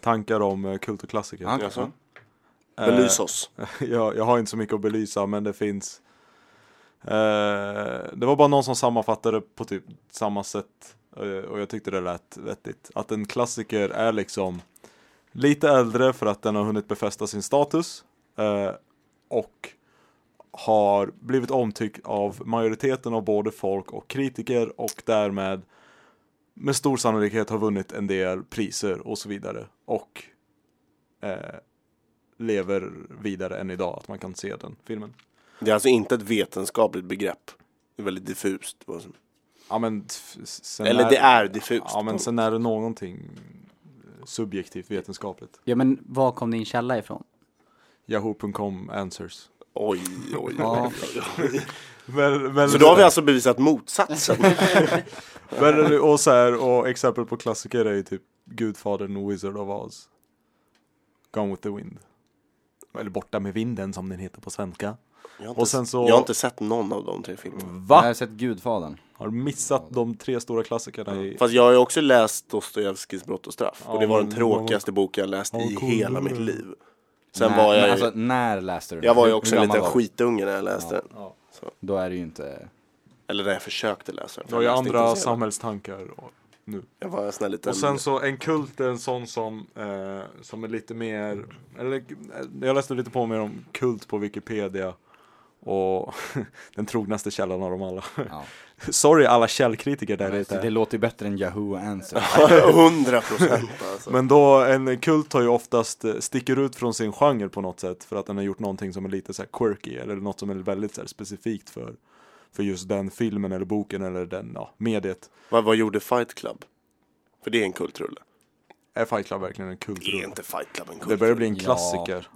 tankar om eh, kult och klassiker. Ja, Jaså? ja. Belys oss. jag, jag har inte så mycket att belysa men det finns eh, Det var bara någon som sammanfattade på typ samma sätt eh, och jag tyckte det lät vettigt. Att en klassiker är liksom lite äldre för att den har hunnit befästa sin status eh, och har blivit omtyckt av majoriteten av både folk och kritiker och därmed med stor sannolikhet har vunnit en del priser och så vidare. Och eh, lever vidare än idag, att man kan se den filmen. Det är alltså inte ett vetenskapligt begrepp. Det är väldigt diffust. vad som- Ja men t- f- sen Eller det är diffust. Ja men sen är det någonting subjektivt vetenskapligt. Ja men var kom din källa ifrån? Yahoo.com answers. Oj, oj, oj. Ja. Men, men, Så då har vi alltså bevisat motsatsen. men, och, så här, och exempel på klassiker är ju typ Gudfadern och Wizard of Oz. Gone with the wind. Eller Borta med vinden som den heter på svenska. Jag har, inte, Och sen så- jag har inte sett någon av de tre filmerna. Jag Va? har sett Gudfadern. Har missat de tre stora klassikerna i... Fast jag har ju också läst Dostojevskijs Brott och straff. Ja, Och det var den men- tråkigaste boken jag läst Ja, i cool. hela mitt liv. Sen när, var jag men ju, alltså, när läste du den? jag var ju Hur- också hur en gammal liten var du? skitunge när jag läste den. Ja. Då är det ju inte... Eller när jag försökte läsa den. Det för har ju jag läste inte andra så jävla- samhällstankar. Och, Jag var en sån här liten... och sen så en kult är en sån som, eh, som är lite mer, eller eh, jag läste lite på mer om kult på Wikipedia. Och den trognaste källan av dem alla. Ja. Sorry alla källkritiker där Men, ute. det låter ju bättre än Yahoo Answers. 100 procent alltså. Men då, en kult har ju oftast, eh, sticker ut från sin genre på något sätt för att den har gjort någonting som är lite så här quirky eller något som är väldigt så här specifikt för, för just den filmen eller boken eller den, ja, mediet. Vad, vad gjorde Fight Club? För det är en kultrulle. Är Fight Club verkligen en kultrulle? Är inte Fight Club en Det kultrulle? börjar bli en Ja. klassiker.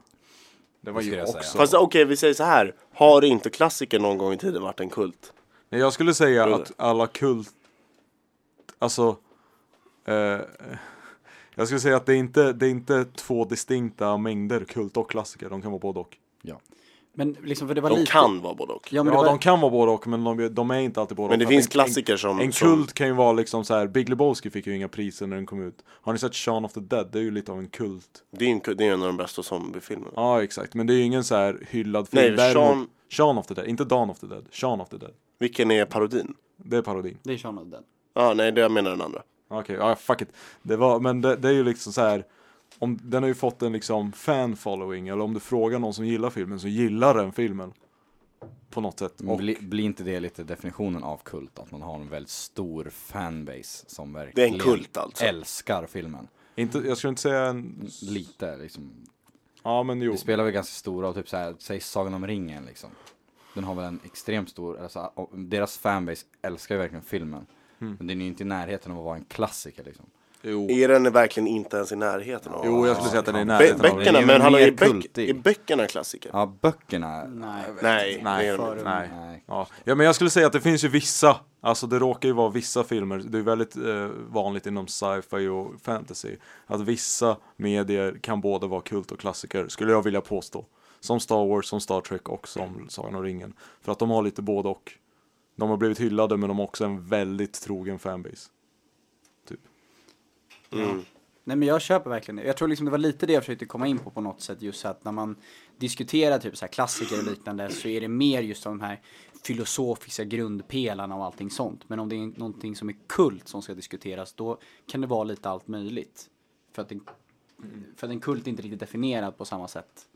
Det var Det skulle ju jag säga. också. Fast okej, vi säger så här. Har inte klassiker någon gång i tiden varit en kult? Nej, jag skulle säga Tror du att alla kult... Alltså... Eh, jag skulle säga att det är, inte, det är inte två distinkta mängder kult och klassiker. De kan vara både och. Men liksom för det var De lite... kan vara både och. Ja, Ja, men det var... de kan vara både och, men de, de är inte alltid både Men och. det Att finns en- klassiker som... En, en som- kult kan ju vara liksom så här. Big Lebowski fick ju inga priser när den kom ut. Har ni sett Shaun of the Dead? Det är ju lite av en kult. Det är ju en, kul- det är en av de bästa zombiefilmerna. Ja, exakt. Men det är ju ingen så här hyllad film. Nej, Däremot- Shaun- Shaun of the Dead. Inte Dawn of the Dead. Shaun of the Dead. Vilken är parodin? Det är parodin. Det är Shaun of the Dead. Ja, ah, nej, det jag menar den andra. Okej, ja fuck it. Det var, men det, det är ju liksom så här. Om, den har ju fått en liksom fan-following, eller om du frågar någon som gillar filmen så gillar den filmen. På något sätt. Men Och, bli- Blir inte det lite definitionen av kult? Att man har en väldigt stor fanbase som Det är verkligen en kult alltså. älskar filmen. inte, jag skulle inte säga en... Lite liksom. Ja men jo. Det spelar väl ganska stora och typ så här, säg Sagan om ringen liksom. Den har väl en extremt stor, alltså, och deras fanbase älskar ju verkligen filmen. Mm. Men den är ju inte i närheten av att vara en klassiker liksom. Jo. Är den verkligen inte ens i närheten av? jo, jag skulle säga att den är i Bö- närheten av böckerna, den är men hallå, mer är, böck, kultig. är böckerna klassiker? Ja, böckerna. Nej. Nej, det är de för- inte. Nej. Nej. Ja. ja men jag skulle säga att det finns ju vissa, alltså det råkar ju vara vissa filmer, det är väldigt eh, vanligt inom sci-fi och fantasy, att vissa medier kan både vara kult och klassiker, skulle jag vilja påstå. Som Star Wars, som Star Trek och som Sagan om ringen. För att de har lite både och. De har blivit hyllade men de har också en väldigt trogen fanbase. Nej men jag köper verkligen det. Jag tror liksom det var lite det jag försökte komma in på på något sätt. Just att när man diskuterar typ så här klassiker och liknande så är det mer just de här filosofiska grundpelarna och allting sånt. Men om det är någonting som är kult som ska diskuteras då kan det vara lite allt möjligt. För att en, för att en kult är inte riktigt definierad på samma sätt.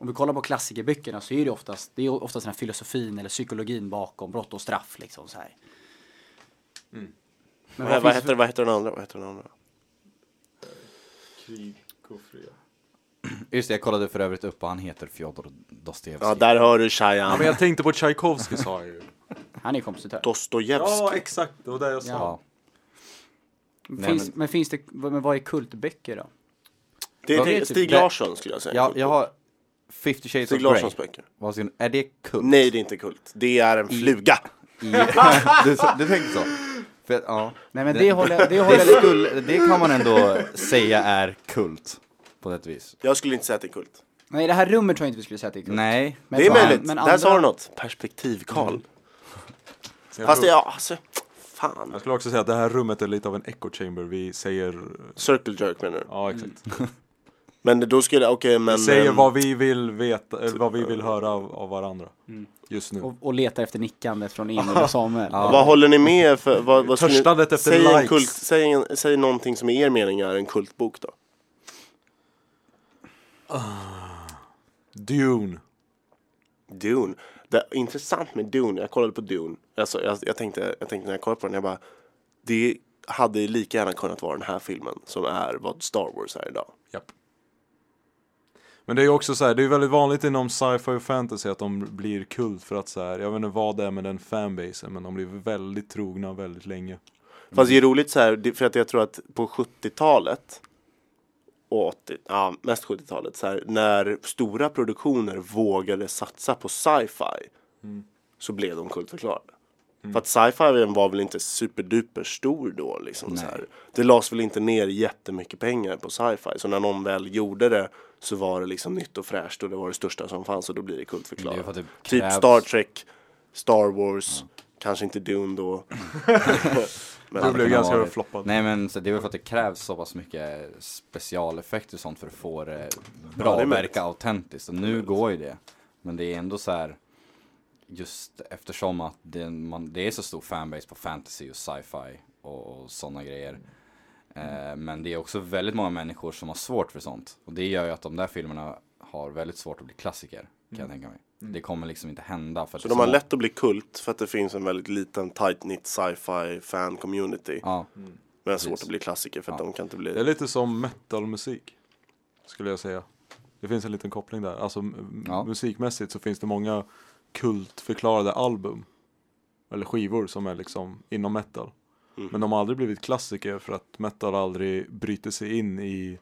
Om vi kollar på klassikerböckerna så är det oftast, det är oftast den här filosofin eller psykologin bakom brott och straff liksom så här. Men Vad, vad, finns heter, vad heter den andra? Vad heter den andra? Just det, jag kollade för övrigt upp vad han heter, Fjodor Dostojevskij. Ja, där hör du Ja Shayan. men jag tänkte på Tchaikovsky sa jag ju. för- Han är kompositör. Dostojevskij. Ja exakt, det var det jag sa. Ja. Nej, finns, men- men... finns det, men vad är kultböcker då? Det Vad är typ heter Stig det? Larsson skulle jag säga. Ja, Kult. jag har 50 shades Stig of Larssons Grey. böcker. Vad ska- Är det kult? Nej, det är inte kult. Det är en fluga. I... du, du tänkte så? För, att, ja. Nej men det håller, jag- det Det, håller jag lite... skulle, det kan man ändå säga är kult. På ett vis. Jag skulle inte säga att det är kult. Nej det här rummet tror jag inte vi skulle säga att det är kult. Nej. Men Det är fan, möjligt. men Där andra- sa du något. Perspektiv, Karl. Fast det, ja, alltså, Jag fan. skulle också säga att det här rummet är lite av en echo chamber, vi säger... Circle jerk menar du? Ja exakt. Men då skulle, okej men... Vi säger ehm, vad vi vill veta, eller vad vi vill höra av, av varandra. Just nu. Och, och letar efter nickandet från Emil och Samuel. Ja. Vad håller ni med för? Vad, vad skulle ni- Törstandet efter säg en likes. Kult, säg, en, säg någonting som i er mening är en kultbok då. Dune. Dune. Det är intressant med Dune, jag kollade på Dune. Alltså, jag, jag, tänkte, jag tänkte när jag kollade på den, jag bara. Det hade lika gärna kunnat vara den här filmen som är vad Star Wars är idag. Japp. Men det är ju också så här, det är ju väldigt vanligt inom sci-fi och fantasy att de blir kult för att så här, jag vet inte vad det är med den fanbasen, men de blir väldigt trogna väldigt länge. Fast det är roligt så här, det- för att jag tror att på 70-talet och 80, ja, mest 70-talet, så här, när stora produktioner vågade satsa på sci-fi så blev de kultförklarade. För att sci-fi var väl inte superduper stor då liksom så här. Det lades väl inte ner jättemycket pengar på sci-fi. Så när någon väl gjorde det så var det liksom nytt och fräscht och det var det största som fanns och då blir det Det är ju för kultförklarat. att det Typ krävs- Star Trek, Star Wars, kanske inte Dune då. Men- Det blev kan ha ganska varit. floppad. Nej men så det är väl för att det krävs så pass mycket specialeffekter och sånt för att få det Ja, bra det är att möjligt. verka autentiskt. Och nu går ju det. Men det är ändå så här just eftersom att det, man, det är så stor fanbase på fantasy och sci-fi och, och sådana grejer. Eh, men det är också väldigt många människor som har svårt för sånt. Och det gör ju att de där filmerna har väldigt svårt att bli klassiker. Kan jag tänka mig. Det kommer liksom inte hända. För att Mm. Så det är de har många- lätt att bli kult för att det finns en väldigt liten tight knit sci-fi fan community. Ja, Men svårt att bli klassiker för att Ja. de kan inte Det är bli... lite som metalmusik. Skulle jag säga. Det finns en liten koppling där. Alltså m- Ja. musikmässigt så finns det många kultförklarade album. Eller skivor som är liksom inom metal. Mm. Men de har aldrig blivit klassiker för att metal aldrig bryter sig in i,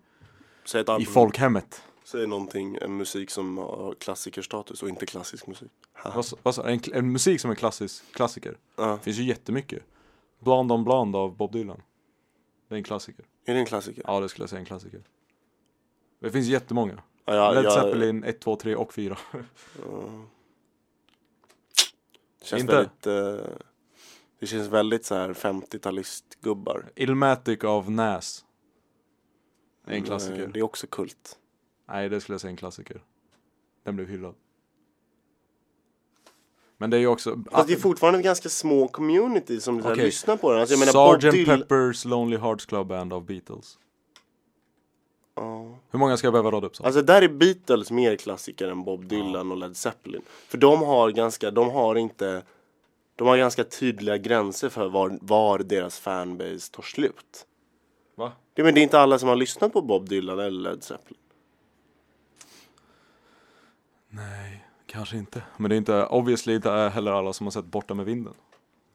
Säg ett i album. folkhemmet. Säg någonting, en musik som har klassikerstatus och inte klassisk musik. Ha. Vad sa- vad sa- en, kl- en musik som är klassisk klassiker. Ja. Det finns ju jättemycket. Blond on Blond av Bob Dylan. Det är en klassiker. Är det en klassiker? Ja, det skulle jag säga är en klassiker. Det finns jättemånga. Ja, jag, Led jag- Zeppelin 1, 2, 3 och 4. Det känns Inte? väldigt... Eh, det känns väldigt så här 50-talistgubbar. Illmatic av Nas. Det är en Eh, klassiker. Det är också kult. Nej, det skulle jag säga är en klassiker. Den blev hyllad. Men det är ju också... Ah, Fast det är fortfarande ganska små community som så här Okej. lyssnar på den. Alltså jag menar Bob Sgt. Dylan... Pepper's Lonely Hearts Club Band av Beatles. Ja. Hur många ska jag behöva rada upp? Så? Alltså där är Beatles mer klassiker än Bob Dylan och Led Zeppelin. För de har ganska, de har inte, de har ganska tydliga gränser för var, var deras fanbase tar slut. Va? Det, men det är inte alla som har lyssnat på Bob Dylan eller Led Zeppelin. Nej, kanske inte. Men det är inte... Obviously inte heller alla som har sett Borta med vinden.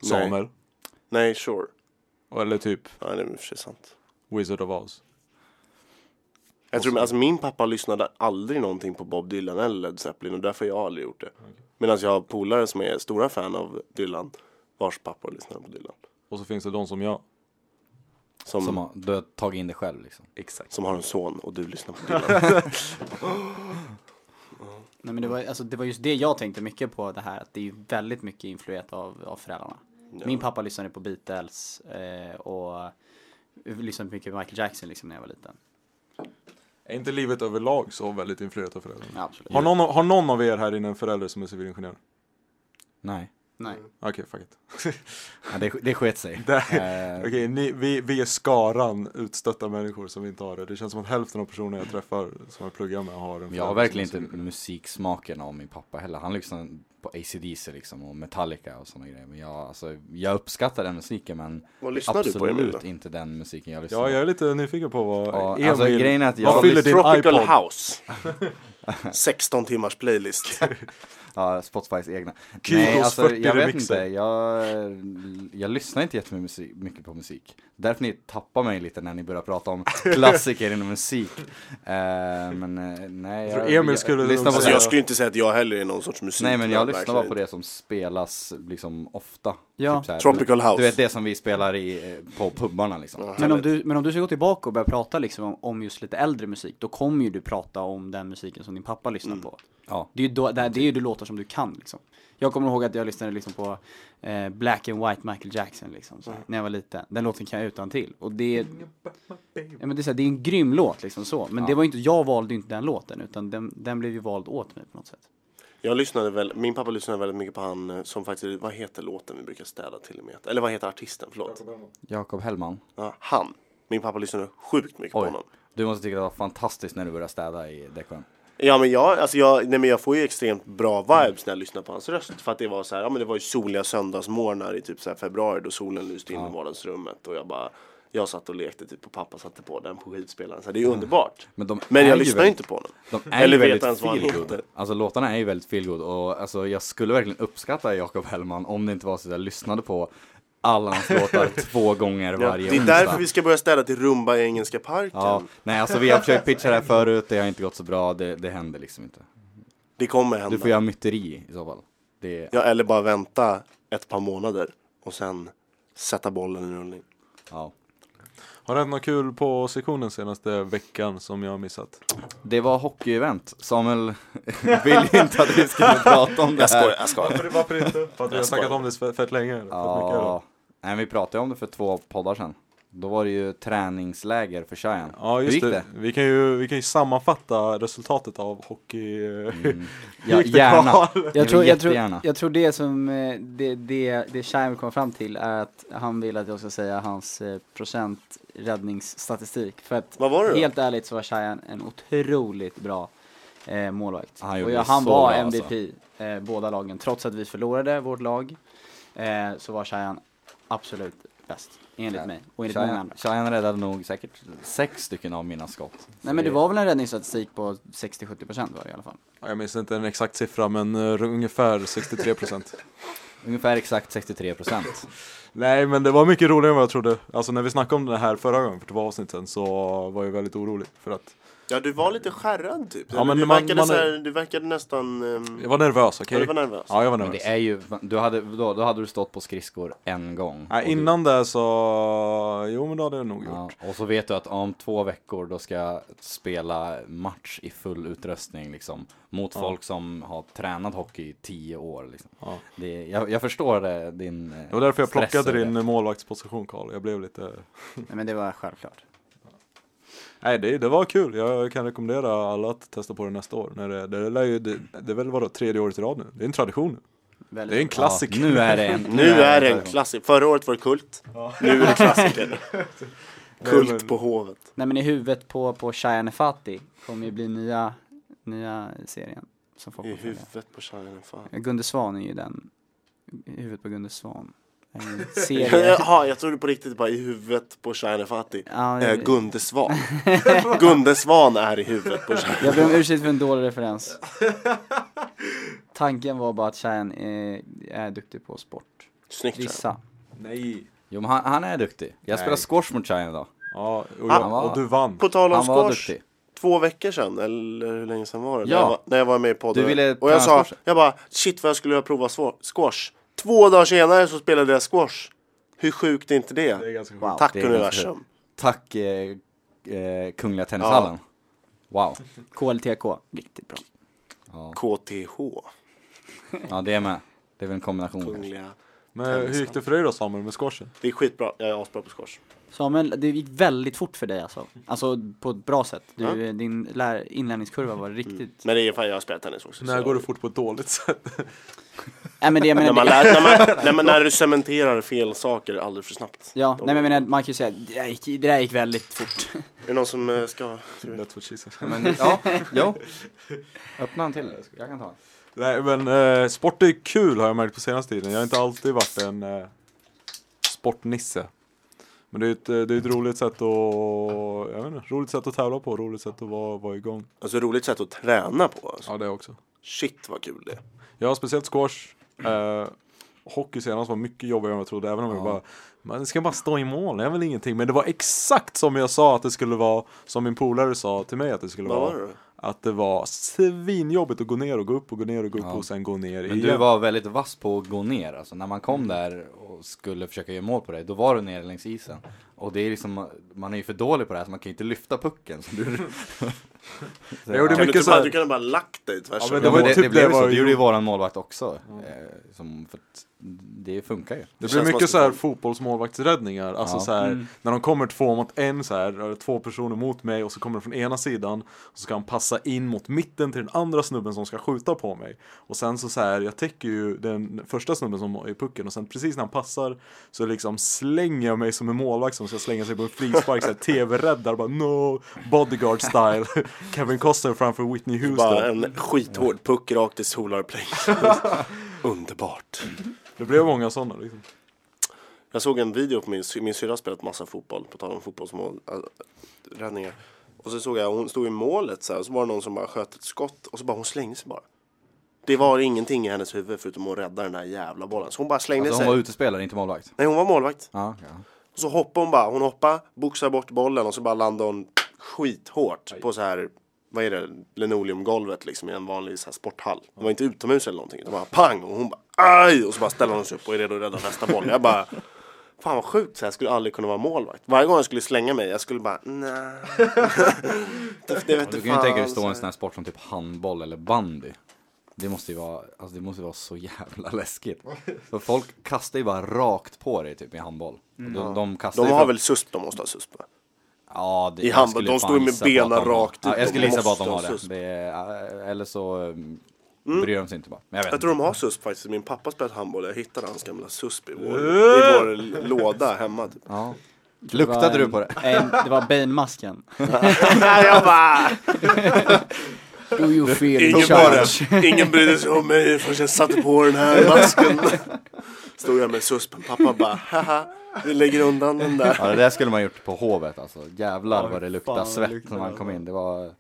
Nej. Samer. Nej, sure. Eller typ Ja, det är i och för sig sant. Wizard of Oz. Jag tror, alltså min pappa lyssnade aldrig någonting på Bob Dylan eller Led Zeppelin och därför har jag aldrig gjort det. Medan jag har polare som är stora fan av Dylan, vars pappa lyssnar på Dylan. Och så finns det de som jag. Som, som som, har, du har tagit in det själv liksom. Exakt. som har en son och du lyssnar på Dylan. Nej, men det, var, alltså, det var just det jag tänkte mycket på det här, att det är ju väldigt mycket influerat av, av föräldrarna. Min pappa lyssnade på Beatles eh, och lyssnade mycket på Michael Jackson liksom, när jag var liten. Är inte livet överlag så väldigt influerat av föräldrarna? Ja, absolut. Har någon, har någon av er här inne en förälder som är civilingenjör? Nej. Nej. Okej, fuck it. Ja, det, det sket sig. Det- Eh, Okej, ni- vi, vi är skaran utstötta människor som inte har det. Det känns som att hälften av personerna jag träffar som jag pluggar med har en Jag har förälder verkligen som är inte musiksmaken av min pappa heller. Han lyssnar på ACDC liksom och Metallica och sådana grejer. Men jag, alltså, jag uppskattar den musiken men Vad lyssnar du på Emil då? absolut inte den musiken jag lyssnar Ja, jag är lite nyfiken på vad Ja, Emil... alltså, grejen är att jag- Vad fyller din Tropical iPod? House. 16 timmars playlist. Alltså, Ja, Spotifys egna. Kyros Nej, alltså 40 jag vet remixer. inte. Jag, jag lyssnar inte jättemycket musik, mycket på musik. Därför ni tappar mig lite när ni börjar prata om klassiker inom musik. Eh, men eh, nej, Jag tror Emil skulle nog lyssnar på Alltså säga- det. jag skulle inte säga att jag heller är någon sorts musik. Nej men jag lyssnar bara på verkligen det som spelas liksom ofta. Ja. så här, Tropical House. Du vet det som vi spelar i, eh, på pubarna liksom. inte. Men om, du, men om du ska gå tillbaka och börja prata liksom om, om just lite äldre musik, då kommer ju du prata om den musiken som din pappa lyssnar på. Ja. Det är ju då, det, det är ju de låtar som du kan liksom. Jag kommer ihåg att jag lyssnade liksom på eh, Black and White Michael Jackson liksom, så här, när jag var liten. Den låten kan jag utan till. Och det är, ja, men det, är så här, det är en grym låt liksom så. Men det var ju inte, jag valde ju inte den låten utan den, den blev ju vald åt mig på något sätt. Jag lyssnade väl, min pappa lyssnade väldigt mycket på han eh, som faktiskt, vad heter låten vi brukar städa till och med? Eller vad heter artisten, förlåt? Jakob Hellman. Ja, han. Min pappa lyssnade sjukt mycket på Oj. honom. Du måste tycka det var fantastiskt när du började städa i Dekon. Ja men jag, alltså jag, nej men jag får ju extremt bra vibes när jag lyssnar på hans röst. För att det var så här, ja men det var ju soliga söndagsmorgnar i typ så här februari då solen lyste in i vardagsrummet och jag bara jag satt och lekte typ och pappa satte på den på skivspelaren. Så det är ju underbart. Men de Men är jag ju lyssnar väldigt- inte på honom. De är Eller Eller vet väldigt ens vad han feelgood. heter. Alltså låtarna är ju väldigt feelgood och alltså, jag skulle verkligen uppskatta Jakob Hellman om det inte var så att jag lyssnade på alla hans låtar två gånger Ja, varje det är onsdag. därför vi ska börja städa till rumba i Engelska parken. Ja, nej alltså vi har försökt pitcha det här förut, det har inte gått så bra, det, det händer liksom inte. Det kommer hända. Du får göra myteri i så fall. Det, Ja, eller bara vänta ett par månader och sen sätta bollen i rullning. ja. Har det hänt något kul på sektionen senaste veckan som jag har missat? det var hockeyevent, Samuel vill ju inte att vi skulle prata om det Jag skojar, här. jag skojar. Varför inte? För att vi har snackat om det fett fett länge. Fett mycket, eller? Ja, nej vi pratade om det för två poddar sedan. Då var det ju träningsläger för Cheyenne. Ja Hur just gick det. det? Vi, kan ju, vi kan ju sammanfatta resultatet av hockey... Mm. Ja, gärna. Jag vill tror, jag, tror, jättegärna. jag tror det som eh, det, det, det Scheim kom fram till är att han vill att jag ska säga hans eh, procent räddningsstatistik. För att Vad var det då? helt ärligt så var Scheim en otroligt bra eh, målvakt. Han gjorde och jag, det han så var bra, MVP eh, båda lagen. Trots att vi förlorade vårt lag eh, så var Scheim absolut bäst. Enligt Ja. mig och enligt många Cheyenne andra. Cheyenne räddade nog säkert sex stycken av mina skott. Nej men det var väl en räddningsstatistik på 60-70% var det i alla fall. Jag minns inte en exakt siffra men eh, ungefär 63 procent. Ungefär exakt 63 procent. Nej men det var mycket roligare än vad jag trodde. Alltså när vi snackade om det här förra gången för två avsnitt sedan så var jag väldigt orolig för att Ja, du var lite skärrad typ. Ja, Eller men du, man- verkade man så är- här, du verkade nästan... ehm, jag var nervös, okej? Ja, du var nervös. Ja, jag var Men nervös. det är ju, du hade, då, då hade du stått på skridskor en gång. Och Nej, du- innan det så, jo men det hade jag nog gjort. Ja, och så vet du att om två veckor då ska jag spela match i full utrustning liksom. Mot folk som har tränat hockey i tio år liksom. Ja. det, jag, jag förstår det, din eh, Det var därför jag stress plockade över din eh, det. målvaktsposition Karl. Jag blev lite... Nej men det var självklart. Nej det, det var kul. Jag kan rekommendera alla att testa på det nästa år. När det, det, lär ju, det, det är väl vadå, tredje året i rad nu? Det är en tradition. Väldigt Det är en klassiker. Ja, nu är det en. Nu är det en klassiker. Förra året var det kult. Nu är det klassiker. Nej, men- kult på Hovet. Nej men i huvudet på, på Cheyenne Fati kommer ju bli nya, nya serien som folk I kommer följa. huvudet på Cheyenne. Fan. Gunde Svan är ju den, i huvudet på Gunde Svan. En serie. Jaha, jag trodde på riktigt bara i huvudet på Cheyenne Fatih. Ja, Eh, jag, Gunde Svan. Gunde Svan är i huvudet på Cheyenne. jag ber om ursäkt för en dålig referens. Tanken var bara att Cheyenne är, är duktig på sport. Snyggt Cheyenne. Vissa. Nej. Jo men han, han är duktig. Jag Nej. spelar squash mot Cheyenne idag. Ja, och, Han jag, var- och du vann. På tal om Han var squash. duktig. två veckor sedan, eller hur länge sedan var det? När, Ja. jag var, när jag var med i podden. Du ville och jag sa, träna squash. jag bara shit vad jag skulle vilja prova svå- squash. Två dagar senare så spelade jag squash. Hur sjukt är inte det? Det är ganska sjukt. Wow. Tack Det är ganska universum. Tack eh, eh, Kungliga Tennishallen. Wow. KLTK. Riktigt bra. KTH. Ja det är med. Det är väl en kombination. kanske. Kungliga. Men hur gick det för dig då Samuel med squashen? Det är skitbra. Jag är asbra på squash. Samuel, det gick väldigt fort för dig alltså. Alltså på ett bra sätt. Du, Din lär, inlärningskurva var riktigt... Men det är fan, jag har spelat tennis också. När så- går det fort på ett dåligt sätt? Nej men det jag menar, När man, lär, när, man, när, man, när du cementerar fel saker alldeles för snabbt. Ja, Då- nej men jag menar, man kan ju säga det där gick, det där gick väldigt fort. Är det någon som eh, ska... That's what she said. Men, ja, jo. Öppna en till. Jag kan ta en. Nej men eh, sport är kul har jag märkt på senaste tiden. Jag har inte alltid varit en eh, sportnisse. Men det är ett, eh, det är ett roligt sätt att, jag vet inte, roligt sätt att tävla på, roligt sätt att vara, vara igång. Alltså roligt sätt att träna på. Alltså. Ja det också. Shit vad kul det är. Jag har speciellt squash. Eh, hockey senast var mycket jobbigare än vad jag trodde. Även om jag bara, man ska bara stå i mål, det är väl ingenting. Men det var exakt som jag sa att det skulle vara, som min polare sa till mig att det skulle Vad vara. var det då? Att det var svinjobbigt att gå ner och gå upp och gå ner och gå upp Ja. och sen gå ner Men igen. du var väldigt vass på att gå ner, alltså när man kom där och skulle försöka göra mål på dig, då var du nere längs isen. Och det är liksom, man är ju för dålig på det här så man kan ju inte lyfta pucken. Så du... så, Jag gjorde Kan du, mycket inte så här- bara, du kan ha bara lagt dig tvärs Ja, över. men det, var, ju det, det typ det blev ju så, var det ju- gjorde ju våran målvakt också. Eh, som, för att det funkar ju. Det blir känns mycket som så att- här fotbollsmålvaktsräddningar, alltså Ja. så här, när de kommer två mot en så här, eller två personer mot mig och så kommer de från ena sidan och så ska han passa in mot mitten till den andra snubben som ska skjuta på mig. Och sen så, så här, jag täcker ju den första snubben som är i pucken och sen precis när han passar så liksom slänger jag mig som en målvakt som ska slänga sig på en frispark såhär tv-räddar bara no, bodyguard style. Kevin Costner framför Whitney Bara Houston. en skithård puck rakt i Solar Place. Underbart. Det blev många sådana liksom. Jag såg en video på min, sy- min syrra har spelat massa fotboll, på tal om fotbollsmål, äh, räddningar. Och så såg jag, hon stod i målet så här, och så var det någon som bara sköt ett skott och så bara hon slängde sig bara. Det var ingenting i hennes huvud förutom att rädda den här jävla bollen. Så hon bara slängde Alltså sig. hon var utespelare, inte målvakt. Nej, hon var målvakt. Ja, ja. Och så hoppade hon bara. Hon hoppade, boxade bort bollen och så bara landade hon skithårt på så här, vad är det, linoleumgolvet liksom i en vanlig så här sporthall. Det var inte utomhus eller någonting. Det var pang och hon bara aj! Och så bara ställer hon sig upp och är redo att rädda nästa boll. Jag bara, fan vad sjukt så här skulle jag aldrig kunna vara målvakt. Varje gång jag skulle slänga mig, jag skulle bara, nej. det, det vet Du kan ju tänka dig stå i en sån här sport som typ handboll eller bandy. Det måste ju vara, alltså det måste vara så jävla läskigt. För folk kastar ju bara rakt på dig typ i handboll. De, de kastar De ju har från- väl susp, de måste ha susp. va? Ja, det, I jag handboll, skulle de fan står ju med gissa på att benen de har- rakt ut, Ja, jag de skulle gissa på att de måste har ha det. susp. det är, eller så mm, bryr de sig inte bara. Men Jag vet Jag inte. tror de har susp faktiskt. Min pappa spelade handboll. Jag hittade hans gamla susp i vår, i vår låda hemma. Typ. Ja. Det Luktade var du en- på det? En, det var Bane-masken. jag bara, Do you feel ingen, bara, ingen brydde sig om mig förrän jag satte på den här masken. Stod jag med suspen. Pappa bara, haha, vi lägger undan den där. Ja, det där skulle man gjort på Hovet alltså. Jävlar Ja, vad det fan, luktade vad det svett luktade, när man alltså. kom in. Det var...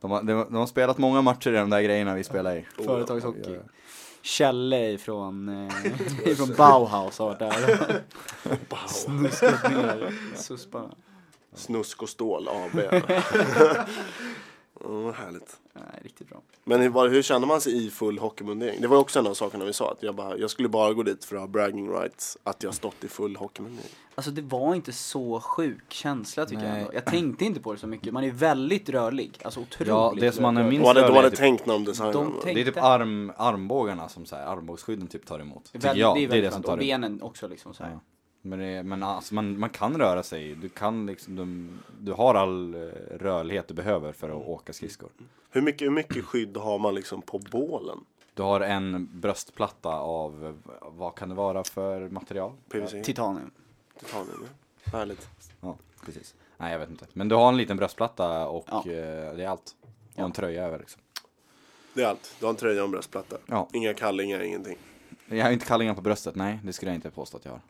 De har, de, de har spelat många matcher i de där grejerna vi spelar i. Oh. Företagshockey. Kjelle ifrån, eh, ifrån Bauhaus har varit där. Snuskat ner susparna. Snusk och stål AB. Mm, härligt. Nej, riktigt bra. Men hur, var- hur känner man sig i full hockeymundering? Det var ju också en av sakerna vi sa. Att jag, bara, jag skulle bara gå dit för att ha bragging rights. Att jag stått i full hockeymundering. Alltså det var inte så sjuk känsla tycker jag Nej. ändå. Jag tänkte inte på det så mycket. Man är väldigt rörlig. Alltså otroligt Ja, det som man är rörlig. minst De hade, de rörliga hade är typ- tänkt när de designade De den. tänk- det är typ arm, armbågarna som så här, armbågsskydden typ tar emot. Tycker Väl- jag. det är, Det är det väldigt som skönt. tar Och emot. benen också liksom så här. Ja. Men, det, men alltså, man, man kan röra sig. Du kan liksom, du, du har all eh, rörlighet du behöver för Mm. att åka skridskor. Hur mycket, hur mycket skydd har man liksom på bålen? Du har en bröstplatta av, eh, vad kan det vara för material? PVC? Titanium. Titanium, ja. Härligt. Ja, precis. Nej, jag vet inte. Men du har en liten bröstplatta och Ja. eh, det är allt. Och en tröja över liksom. Det är allt. Du har en tröja och en bröstplatta. Ja. Inga kallingar, ingenting. Jag har inte kallingar på bröstet, nej. Det skulle jag inte påstå att jag har.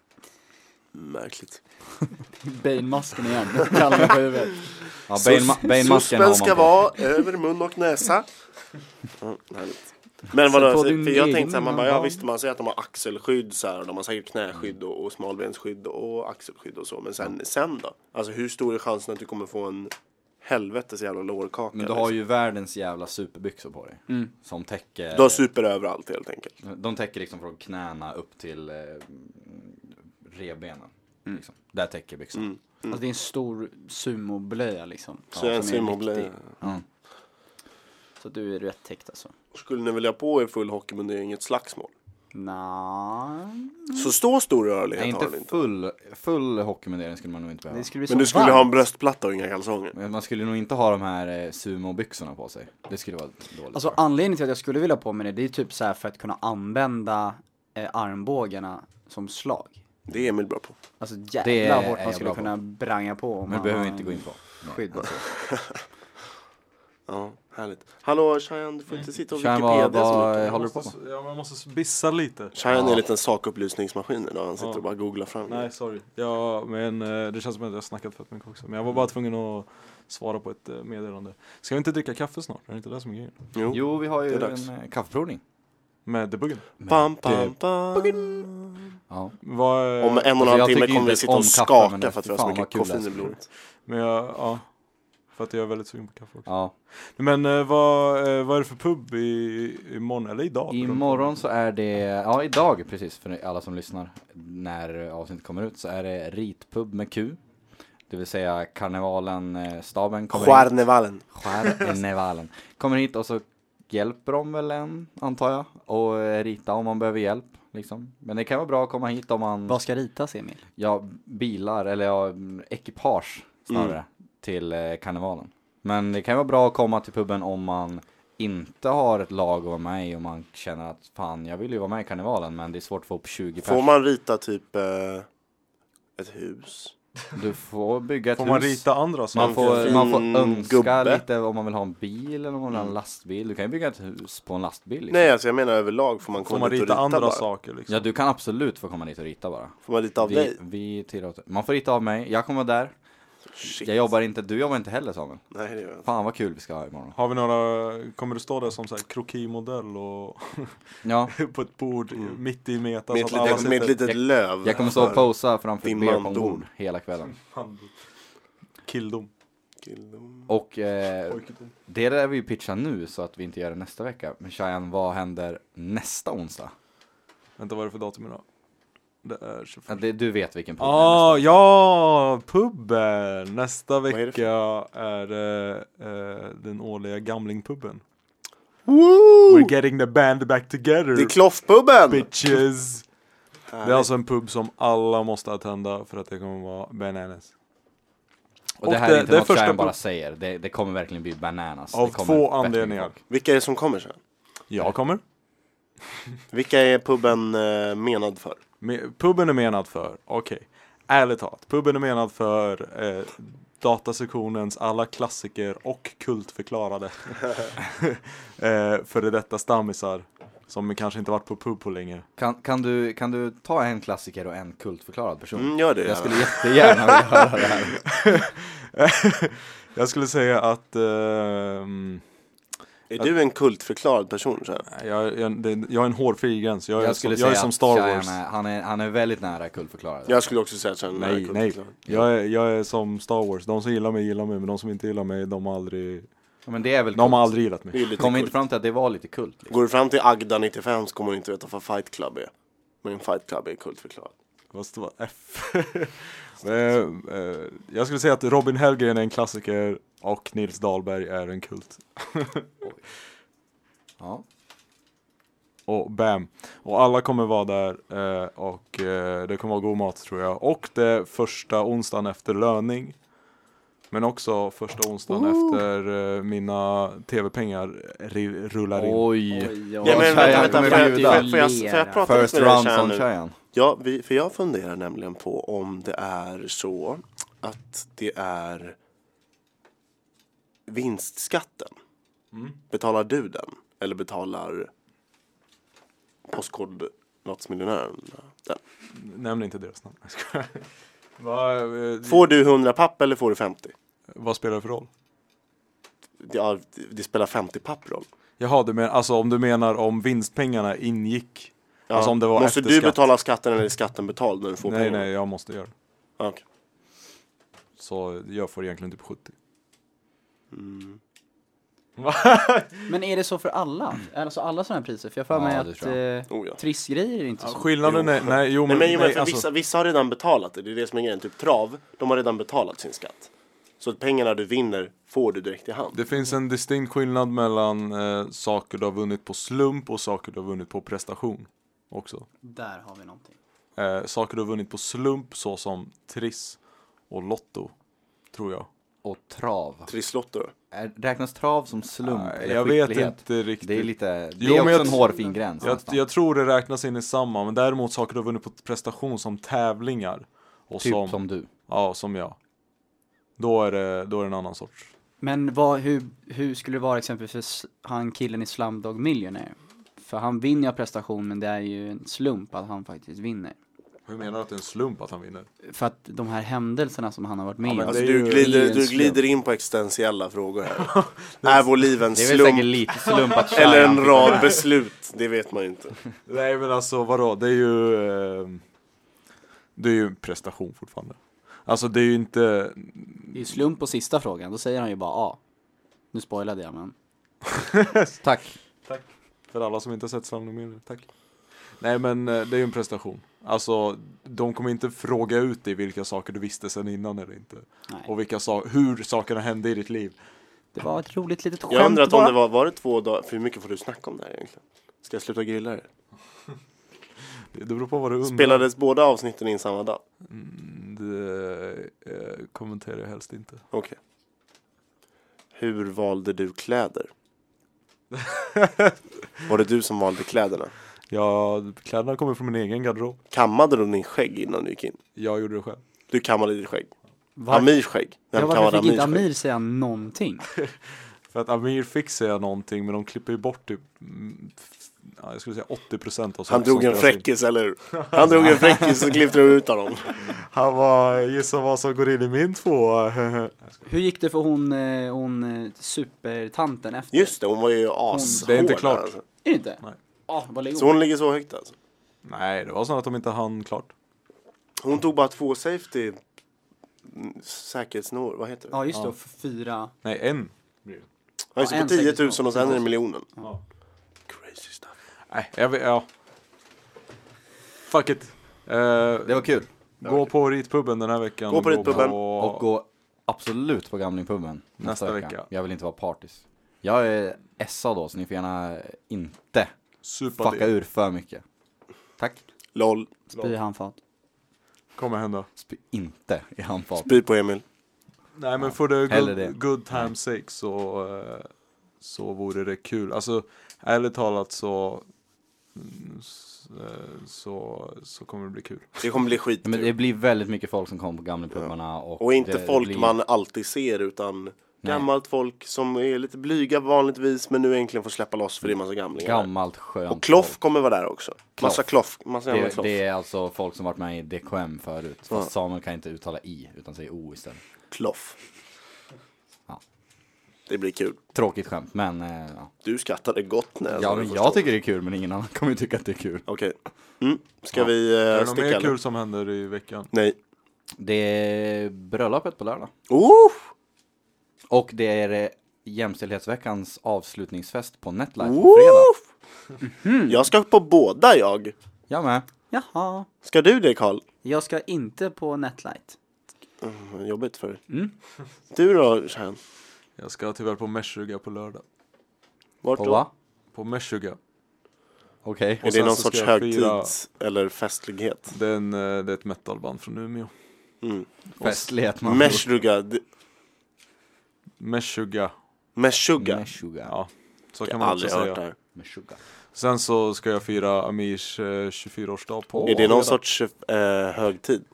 Märkligt. Bane-masken igen. Kallar på huvudet. Ja, Bane- Bane-masken har man ska på. vara över mun och näsa. Mm, härligt. Men Sätt vadå, på för din jag egen tänkte såhär, man bara, ja man. visst man säger att de har axelskydd så här, och de har säkert knäskydd och, och smalbensskydd och axelskydd och så, men sen, sen då? Alltså hur stor är chansen att du kommer få en helvetes jävla lårkaka? Men du har ju världens jävla superbyxor på dig. Som täcker... Mm. du har super överallt helt enkelt. De täcker liksom från knäna upp till eh, revbenen. Mm. Liksom. Där täcker byxan. Alltså det är en stor sumoblöja liksom. Så jag är en som är simhoblöja. viktig. Mm. Så du är rätt täckt alltså. Skulle ni vilja på er full hockeymundering i ett slagsmål? Nej. Så så stor rörlighet Nej, har ni inte inte. full, full hockeymundering skulle man nog inte behöva. Det skulle bli Men du så skulle varmt. ha en bröstplatta och inga kalsonger. Men man skulle nog inte ha de här eh, sumobyxorna på sig. Det skulle vara dåligt. Alltså anledningen till att jag skulle vilja ha på mig det, det är typ så här för att kunna använda eh, armbågarna som slag. Det är Emil bra på. Alltså Det är jävlar hårt man jag skulle bra på. kunna branga på men om det man behöver har vi inte en gå in på. alltså. Skydd. Ja, härligt. Hallå Shayan, du får inte sitta och Cheyenne, Wikipedia vad, så vad mycket. håller du på med? Ja, man måste bissa lite. Shayan är en liten sakupplysningsmaskin idag. Han sitter Ja. och bara googlar fram. Nej, sorry. Ja, men eh, det känns som att jag har snackat fett mycket också. Men jag var bara tvungen att svara på ett eh, meddelande. Ska vi inte dricka kaffe snart? Är det inte det som är grejen? Jo. Jo, vi har Det ju är dags. en eh, kaffeprovning. Med debuggen. Pam, pam, pam. Ja. Vad, eh, Om en och en jag halv timme tycker kommer inte vi sitta och ens om skaka kaffe, men för att vi har så fan vad mycket kul det koffein i skulle bli. blodet. men jag, ja. För att jag är väldigt sugen på kaffe också. Ja. Men eh, vad, eh, vad är det för pub i, imorgon? Eller idag? Imorgon så är det, ja idag precis för alla som lyssnar när avsnittet kommer ut så är det Ritpub med Q. Det vill säga karnevalen eh, staben kommer hit. Stjärnevalen. Karnevalen. Kommer hit och så hjälper de väl en antar jag och eh, rita om man behöver hjälp liksom. Men det kan vara bra att komma hit om man, Vad ska ritas Emil? ja bilar eller ja, mm, ekipage snarare Mm. till eh, karnevalen. Men det kan vara bra att komma till puben om man inte har ett lag att vara med i och man känner att fan jag vill ju vara med i karnevalen men det är svårt att få upp Får 20 personer. man rita typ eh, ett hus? Liksom. Du får bygga ett Får man hus. rita andra saker? Man får, man får fin önska gubbe? Mm. lite om man vill ha en bil eller om man vill ha en lastbil. Du kan ju bygga ett hus på en lastbil. Liksom. Nej, alltså jag menar överlag får man Får komma man dit och rita rita andra bara? saker liksom? Ja, du kan absolut få komma dit och rita bara. Får man rita av vi, dig? vi tillåter. Man får rita av mig, jag kommer vara där. Shit. Jag jobbar inte, du jobbar inte heller Samuel. Nej, det gör jag inte. Fan vad kul vi ska ha imorgon. Har vi några, kommer du stå där som så här krokimodell och Ja, på ett bord mitt i meta? Mm. Med så ett att alla litet, med ett sitter- litet Jag- löv. jag kommer stå och posa framför Din beer mandom. pong-bord hela kvällen. Killdom. Killdom. Och eh, Pojkedom. det där vi pitchar nu så att vi inte gör det nästa vecka. Men Cheyenne, vad händer nästa onsdag? Vänta, vad är det för datum idag? Det är 25. Ja, det- Du vet vilken podd det är nästa Ah, ja, puben! Nästa är det för- vecka är det eh, den årliga gamlingpuben. Woo! We're getting the band back together, Det är Kloffpubben! bitches! Det är Härligt. alltså en pub som alla måste attenda för att det kommer vara bananas. Och det Och här det- är inte det något första Cheyenne bara pro- säger, det, det kommer verkligen bli bananas. Av det kommer två bättre än anledningar. folk. Vilka är det som kommer sen? Jag kommer. Vilka är puben eh, menad för? Me- Puben är menad för, okej, ärligt talat. Puben är menad för eh, datasektionens alla klassiker och kultförklarade eh, före detta stammisar som kanske inte varit på pub på länge. Kan, kan, du, kan du ta en klassiker och en kultförklarad person? Mm, gör det Jag gärna. skulle jättegärna vilja höra det här. Jag skulle säga att ehm, Är du en kultförklarad person? Så här? jag, jag, det, jag har en hårfri gräns. Jag, är, Jag som, skulle jag är säga som att Star Cheyenne Wars. är- han, är, han är väldigt nära kultförklarad. Jag skulle också säga att jag är Nej, nej. kultförklarad. Jag är, jag är som Star Wars. De som gillar mig gillar mig, men de som inte gillar mig, de har aldrig, Ja, men det är väl de har kult. aldrig gillat Det mig. är ju lite Kom kult. inte fram till att det var lite kult. Liksom. Går du fram till Agda 95 så kommer du inte veta vad Fight Club är. Men Fight Club är kultförklarad. Vad står F? Eh, eh, jag skulle säga att Robin Hellgren är en klassiker och Nils Dahlberg är en kult. Ja. Och bam! Och alla kommer vara där eh, och eh, det kommer vara god mat tror jag. Och det är första onsdagen efter löning. Men också första onsdagen efter eh, mina tv-pengar ri- rullar in. Oj. Oj, oj. Ja, men Cheyenne vänta, vänta, kommer får jag, får bjuda. jag, får jag, får jag prata First lite med dig round Cheyenne från nu? Cheyenne. Ja, vi, för jag funderar nämligen på om det är så att det är vinstskatten. Mm. Betalar du den? Eller betalar Postkodlottsmiljonären den? Nämn inte deras namn. Jag skojar. vad, eh, Får du 100 papp eller får du 50? vad spelar det för roll? Ja, det spelar 50 papp roll. Jaha, du men, alltså om du menar om vinstpengarna ingick? Ja. Alltså om det var Måste efter du skatt. betala skatten eller är skatten betald när du får Nej, pengarna? nej, jag måste göra det. Ja, okej. Så jag får egentligen typ 70. Mm. Men är det så för alla? Alltså alla sådana här priser? För jag får Mm. Ja, mig det att tror eh, Oh, ja. trissgrejer är inte så. Skillnaden Jo. är, nej, jo Nej, men, men, men nej, för alltså, vissa, vissa har redan betalat det. Det är det som är grejen. Typ trav, de har redan betalat sin skatt. Så att pengarna du vinner får du direkt i hand. det finns en distinkt skillnad mellan eh, saker du har vunnit på slump och saker du har vunnit på prestation också. Där har vi någonting. Eh, saker du har vunnit på slump såsom Triss och Lotto, tror jag. Och trav. Trisslotter. Är- Räknas trav som slump Nej, eller jag vet skicklighet? inte riktigt. Det är lite, det Jo, är men också jag en tr- hårfin gräns jag, nästan. jag tror det räknas in i samma, men däremot saker du har vunnit på prestation som tävlingar. Och Typ som, som du. Ja, som jag. Då är det, då är det en annan sorts. Men vad, hur, hur skulle det vara exempelvis för s- han killen i Slumdog Millionaire? För han vinner ju av prestation men det är ju en slump att han faktiskt vinner. Hur menar du att det är en slump att han vinner? För att de här händelserna som han har varit med om. men Alltså, det är du, ju- det är glider, en du slump. glider in på existentiella frågor här. är vår liv en Det är väl säkert slump? lite slump att Cheyenne Eller en rad fick vara med. beslut? Det vet man ju inte. Nej men alltså vadå, det är ju eh, Det är ju en prestation fortfarande Alltså det är ju inte Det är ju slump på sista frågan, då säger han ju bara ja. Nu spoilade jag men. Tack. Tack För alla som inte har sett Slamdog Millionaire, tack Nej men eh, det är ju en prestation Alltså de kommer inte fråga ut dig vilka saker du visste sedan innan eller inte Nej. Och vilka sa- hur sakerna hände i ditt liv Det var ett roligt litet skämt Jag undrar om bara. det var, var det två dagar? För hur mycket får du snacka om det här egentligen? Ska jag sluta grilla det? Det det beror på vad du undrar Spelades båda avsnitten in samma dag? Mm, Det eh, kommenterar jag helst inte Okej. Hur valde du kläder? Var det du som valde kläderna? Ja, kläderna kommer från min egen garderob Kammade du din skägg innan du gick in? Jag gjorde det själv Du kammade ditt skägg. Var- Amirs skägg. Ja, Vem varför kammade Amirs fick inte skägg? Amir säga någonting? För att Amir fick säga någonting men de klipper ju bort typ mm, f- ja, jag skulle säga 80% av Han drog en fräckis, eller hur? Han drog en fräckis och klippte ut honom. Han var, gissa vad som går in i min tvåa. Hur gick det för hon, eh, hon eh, supertanten efter? Just det, hon var ju ashård. Det är inte klart. Alltså. Är det inte? Nej. Ah, vad lägger Så hon ligger så högt alltså. Nej, det var så att de inte hann klart. Hon tog bara två safety mm, säkerhetsnår, vad heter det? Ja, just det. Ja. och f- Fyra. Nej, en. Ja, just det, en på 10 000 säkerhetsnår. och sen är det miljonen. Ja. Crazy stuff. Nej, jag vet, ja. Fuck it. Eh, Det var kul. gå på ritpubben den här veckan. Gå på ritpubben. på- Och gå absolut på Gamlingpubben nästa, Nästa vecka. vecka. Jag vill inte vara partisk. Jag är SA då, så ni får gärna inte Supa fucka det. ur för mycket. Tack. LOL. Spy i handfat. Kommer hända. Spy inte i handfat. Spy på Emil. Nej men för the hellre det. good, good time sake så, eh, så vore det kul. Alltså ärligt talat så mm, s- eh, så, så kommer det bli kul. Det kommer bli Ja, Men det skitkul. blir väldigt mycket folk som kommer på Gamlingpubbarna. Och, Typ. Och inte det folk blir- man alltid ser utan gammalt folk som är lite blyga vanligtvis men nu äntligen får släppa loss för det är massa gamlingar. där. Gammalt skönt Och Kloff kommer vara där också. Massa Kloff. Massa jävla Det, Kloff. det är alltså folk som varit med i DKM förut. Fast Ja. Samuel kan inte uttala i, utan säger o istället. Kloff. Ja. Det blir kul. Tråkigt skämt, men eh, ja. Du skrattade gott när jag sa ja det men första jag gången. tycker det är kul, men ingen annan kommer ju tycka att det är kul. Okej. Mm. Ska Ja. vi är uh, det något sticka mer eller? kul som händer i veckan? Nej. Det är bröllopet på lördag. Oh! Och det är eh, jämställdhetsveckans avslutningsfest på Netlife på fredag. Woof! Jag ska på båda jag. Jag med. Jaha. Ska du det Karl? Jag ska inte på Netlight. Mm, Jobbigt för dig. Du då Shahan? Jag ska tyvärr på Meshuggah på lördag. Vart På då? va? På Meshuggah. Okej. Är det sen någon så sorts ska jag fira- högtids eller festlighet? Det är, en, eh, det är ett metalband från Umeå. Mm. Festlighet man. Meshuggah. d- Meshuggah. Meshuggah. Meshuggah. Ja, så Jag kan har man också aldrig hört det säga. här. Meshuggah. Sen så ska jag fira Amirs eh, 24-årsdag på Är det någon fredag. sorts eh, högtid?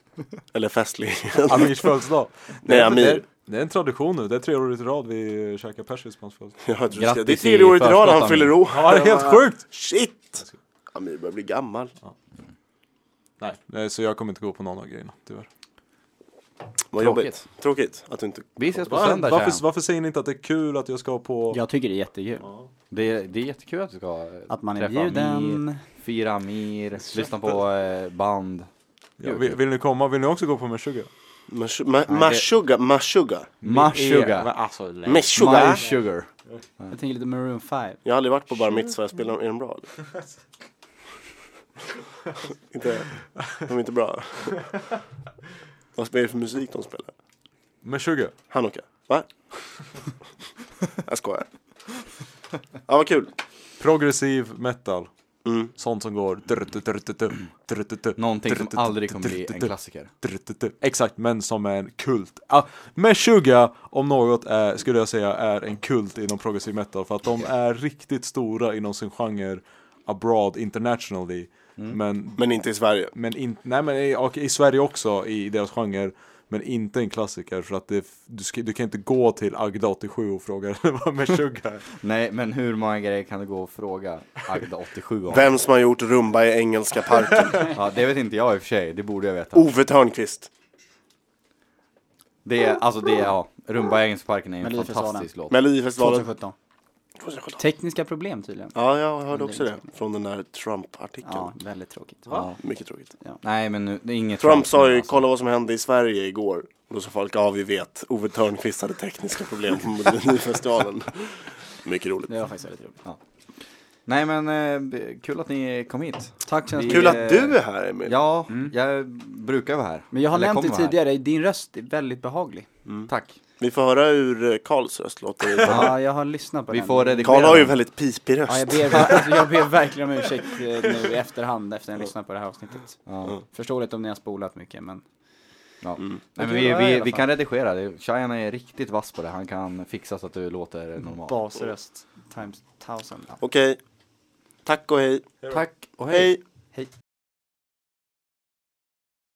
Eller festlighet? Amirs födelsedag? Nej, Det är- Amir. Det är, det är en tradition nu, det är tre år i rad vi eh, käkar persisk på hans födelsedag. Jag tror du ska- Grattis det är tredje i året i rad förskott, han Amir. fyller år. Ja, det är helt sjukt! Shit! Amir börjar bli gammal. Nej, nej, så jag kommer inte gå på någon av grejerna, tyvärr. Vad Tråkigt. jobbigt. Tråkigt att du inte... Vi ses på Va? söndag varför, tjejen. varför säger ni inte att det är kul att jag ska på... Jag tycker det är jättekul. det, är- det är jättekul att du ska eh, Att man är träffa bjuden. Amir, fira Amir, lyssna på eh, band. Ja, vill, vill ni komma? Vill ni också gå på Meshuggah? Meshu- ma- Meshuggah. Meshuggah. Meshuggah. Alltså, Meshuggah. Meshuggah. Jag tänker lite Maroon 5. Jag har aldrig varit på Bar Mitzvah, jag spelar, är de bra eller? inte, de är inte bra. Vad spelar det för musik de spelar? Meshuggah? Hanukka? Va? jag skojar. Ja, vad kul. Progressiv metal. Mm. Sånt som går... drrtutututum, drrtututu, Någonting som aldrig kommer bli en drrtututu, klassiker. drrtutu. Exakt, men som är en kult. Ah, Meshuggah om något är, skulle jag säga är en kult inom progressiv metal för att de är riktigt stora inom sin genre abroad internationally. Men Men inte i Sverige. Men, in, nej, men i, och i Sverige också i deras genre. Men inte en klassiker för att det, du, ska, du kan inte gå till Agda 87 och fråga vad Meshuggah är. Nej, men hur många grejer kan du gå och fråga Agda 87 om? Vem som har gjort Rumba i Engelska parken? Ja, det vet inte jag i och för sig, det borde jag veta. Ove Thörnqvist. Det är, alltså det är, ja, Rumba i Ängsparken är en Melodifestivalen. fantastisk låt. Melodifestivalen. 2017. 2017. Tekniska problem tydligen. Ja, jag hörde också det. Från den där Trump-artikeln. Ja, väldigt tråkigt. Mycket tråkigt. Nej, men nu, det är inget Trump sa nu, ju alltså. kolla vad som hände i Sverige igår. Och då sa folk ja vi vet, Ove Thörnqvist hade tekniska problem på Melodifestivalen. Mycket roligt. Det var faktiskt väldigt roligt. Nej, men eh, b- kul att ni kom hit. Tack så Vi- mycket. Kul att du är här Emil. Ja, jag brukar vara här. Mm. Men jag har Eller nämnt det kommer vara tidigare, din röst är väldigt behaglig. här. Tack. Vi får höra hur eh, Karls röst låter. Ja, jag har lyssnat på Vi den. får redigera. Karl har ju den. väldigt pipig Ja, jag röst. ber, alltså, jag ber verkligen om ursäkt eh, nu i efterhand efter att jag lyssnat på det här avsnittet. Mm. Ja. Förståeligt om ni har spolat mycket, men Ja. Nej, men vi, Det kan jag i vi, alla vi fall. kan redigera det. Shayan är riktigt vass på det. Han kan fixa så att du låter normal. basröst times thousand. Okej. Tack och hej. Tack och hej. Hej.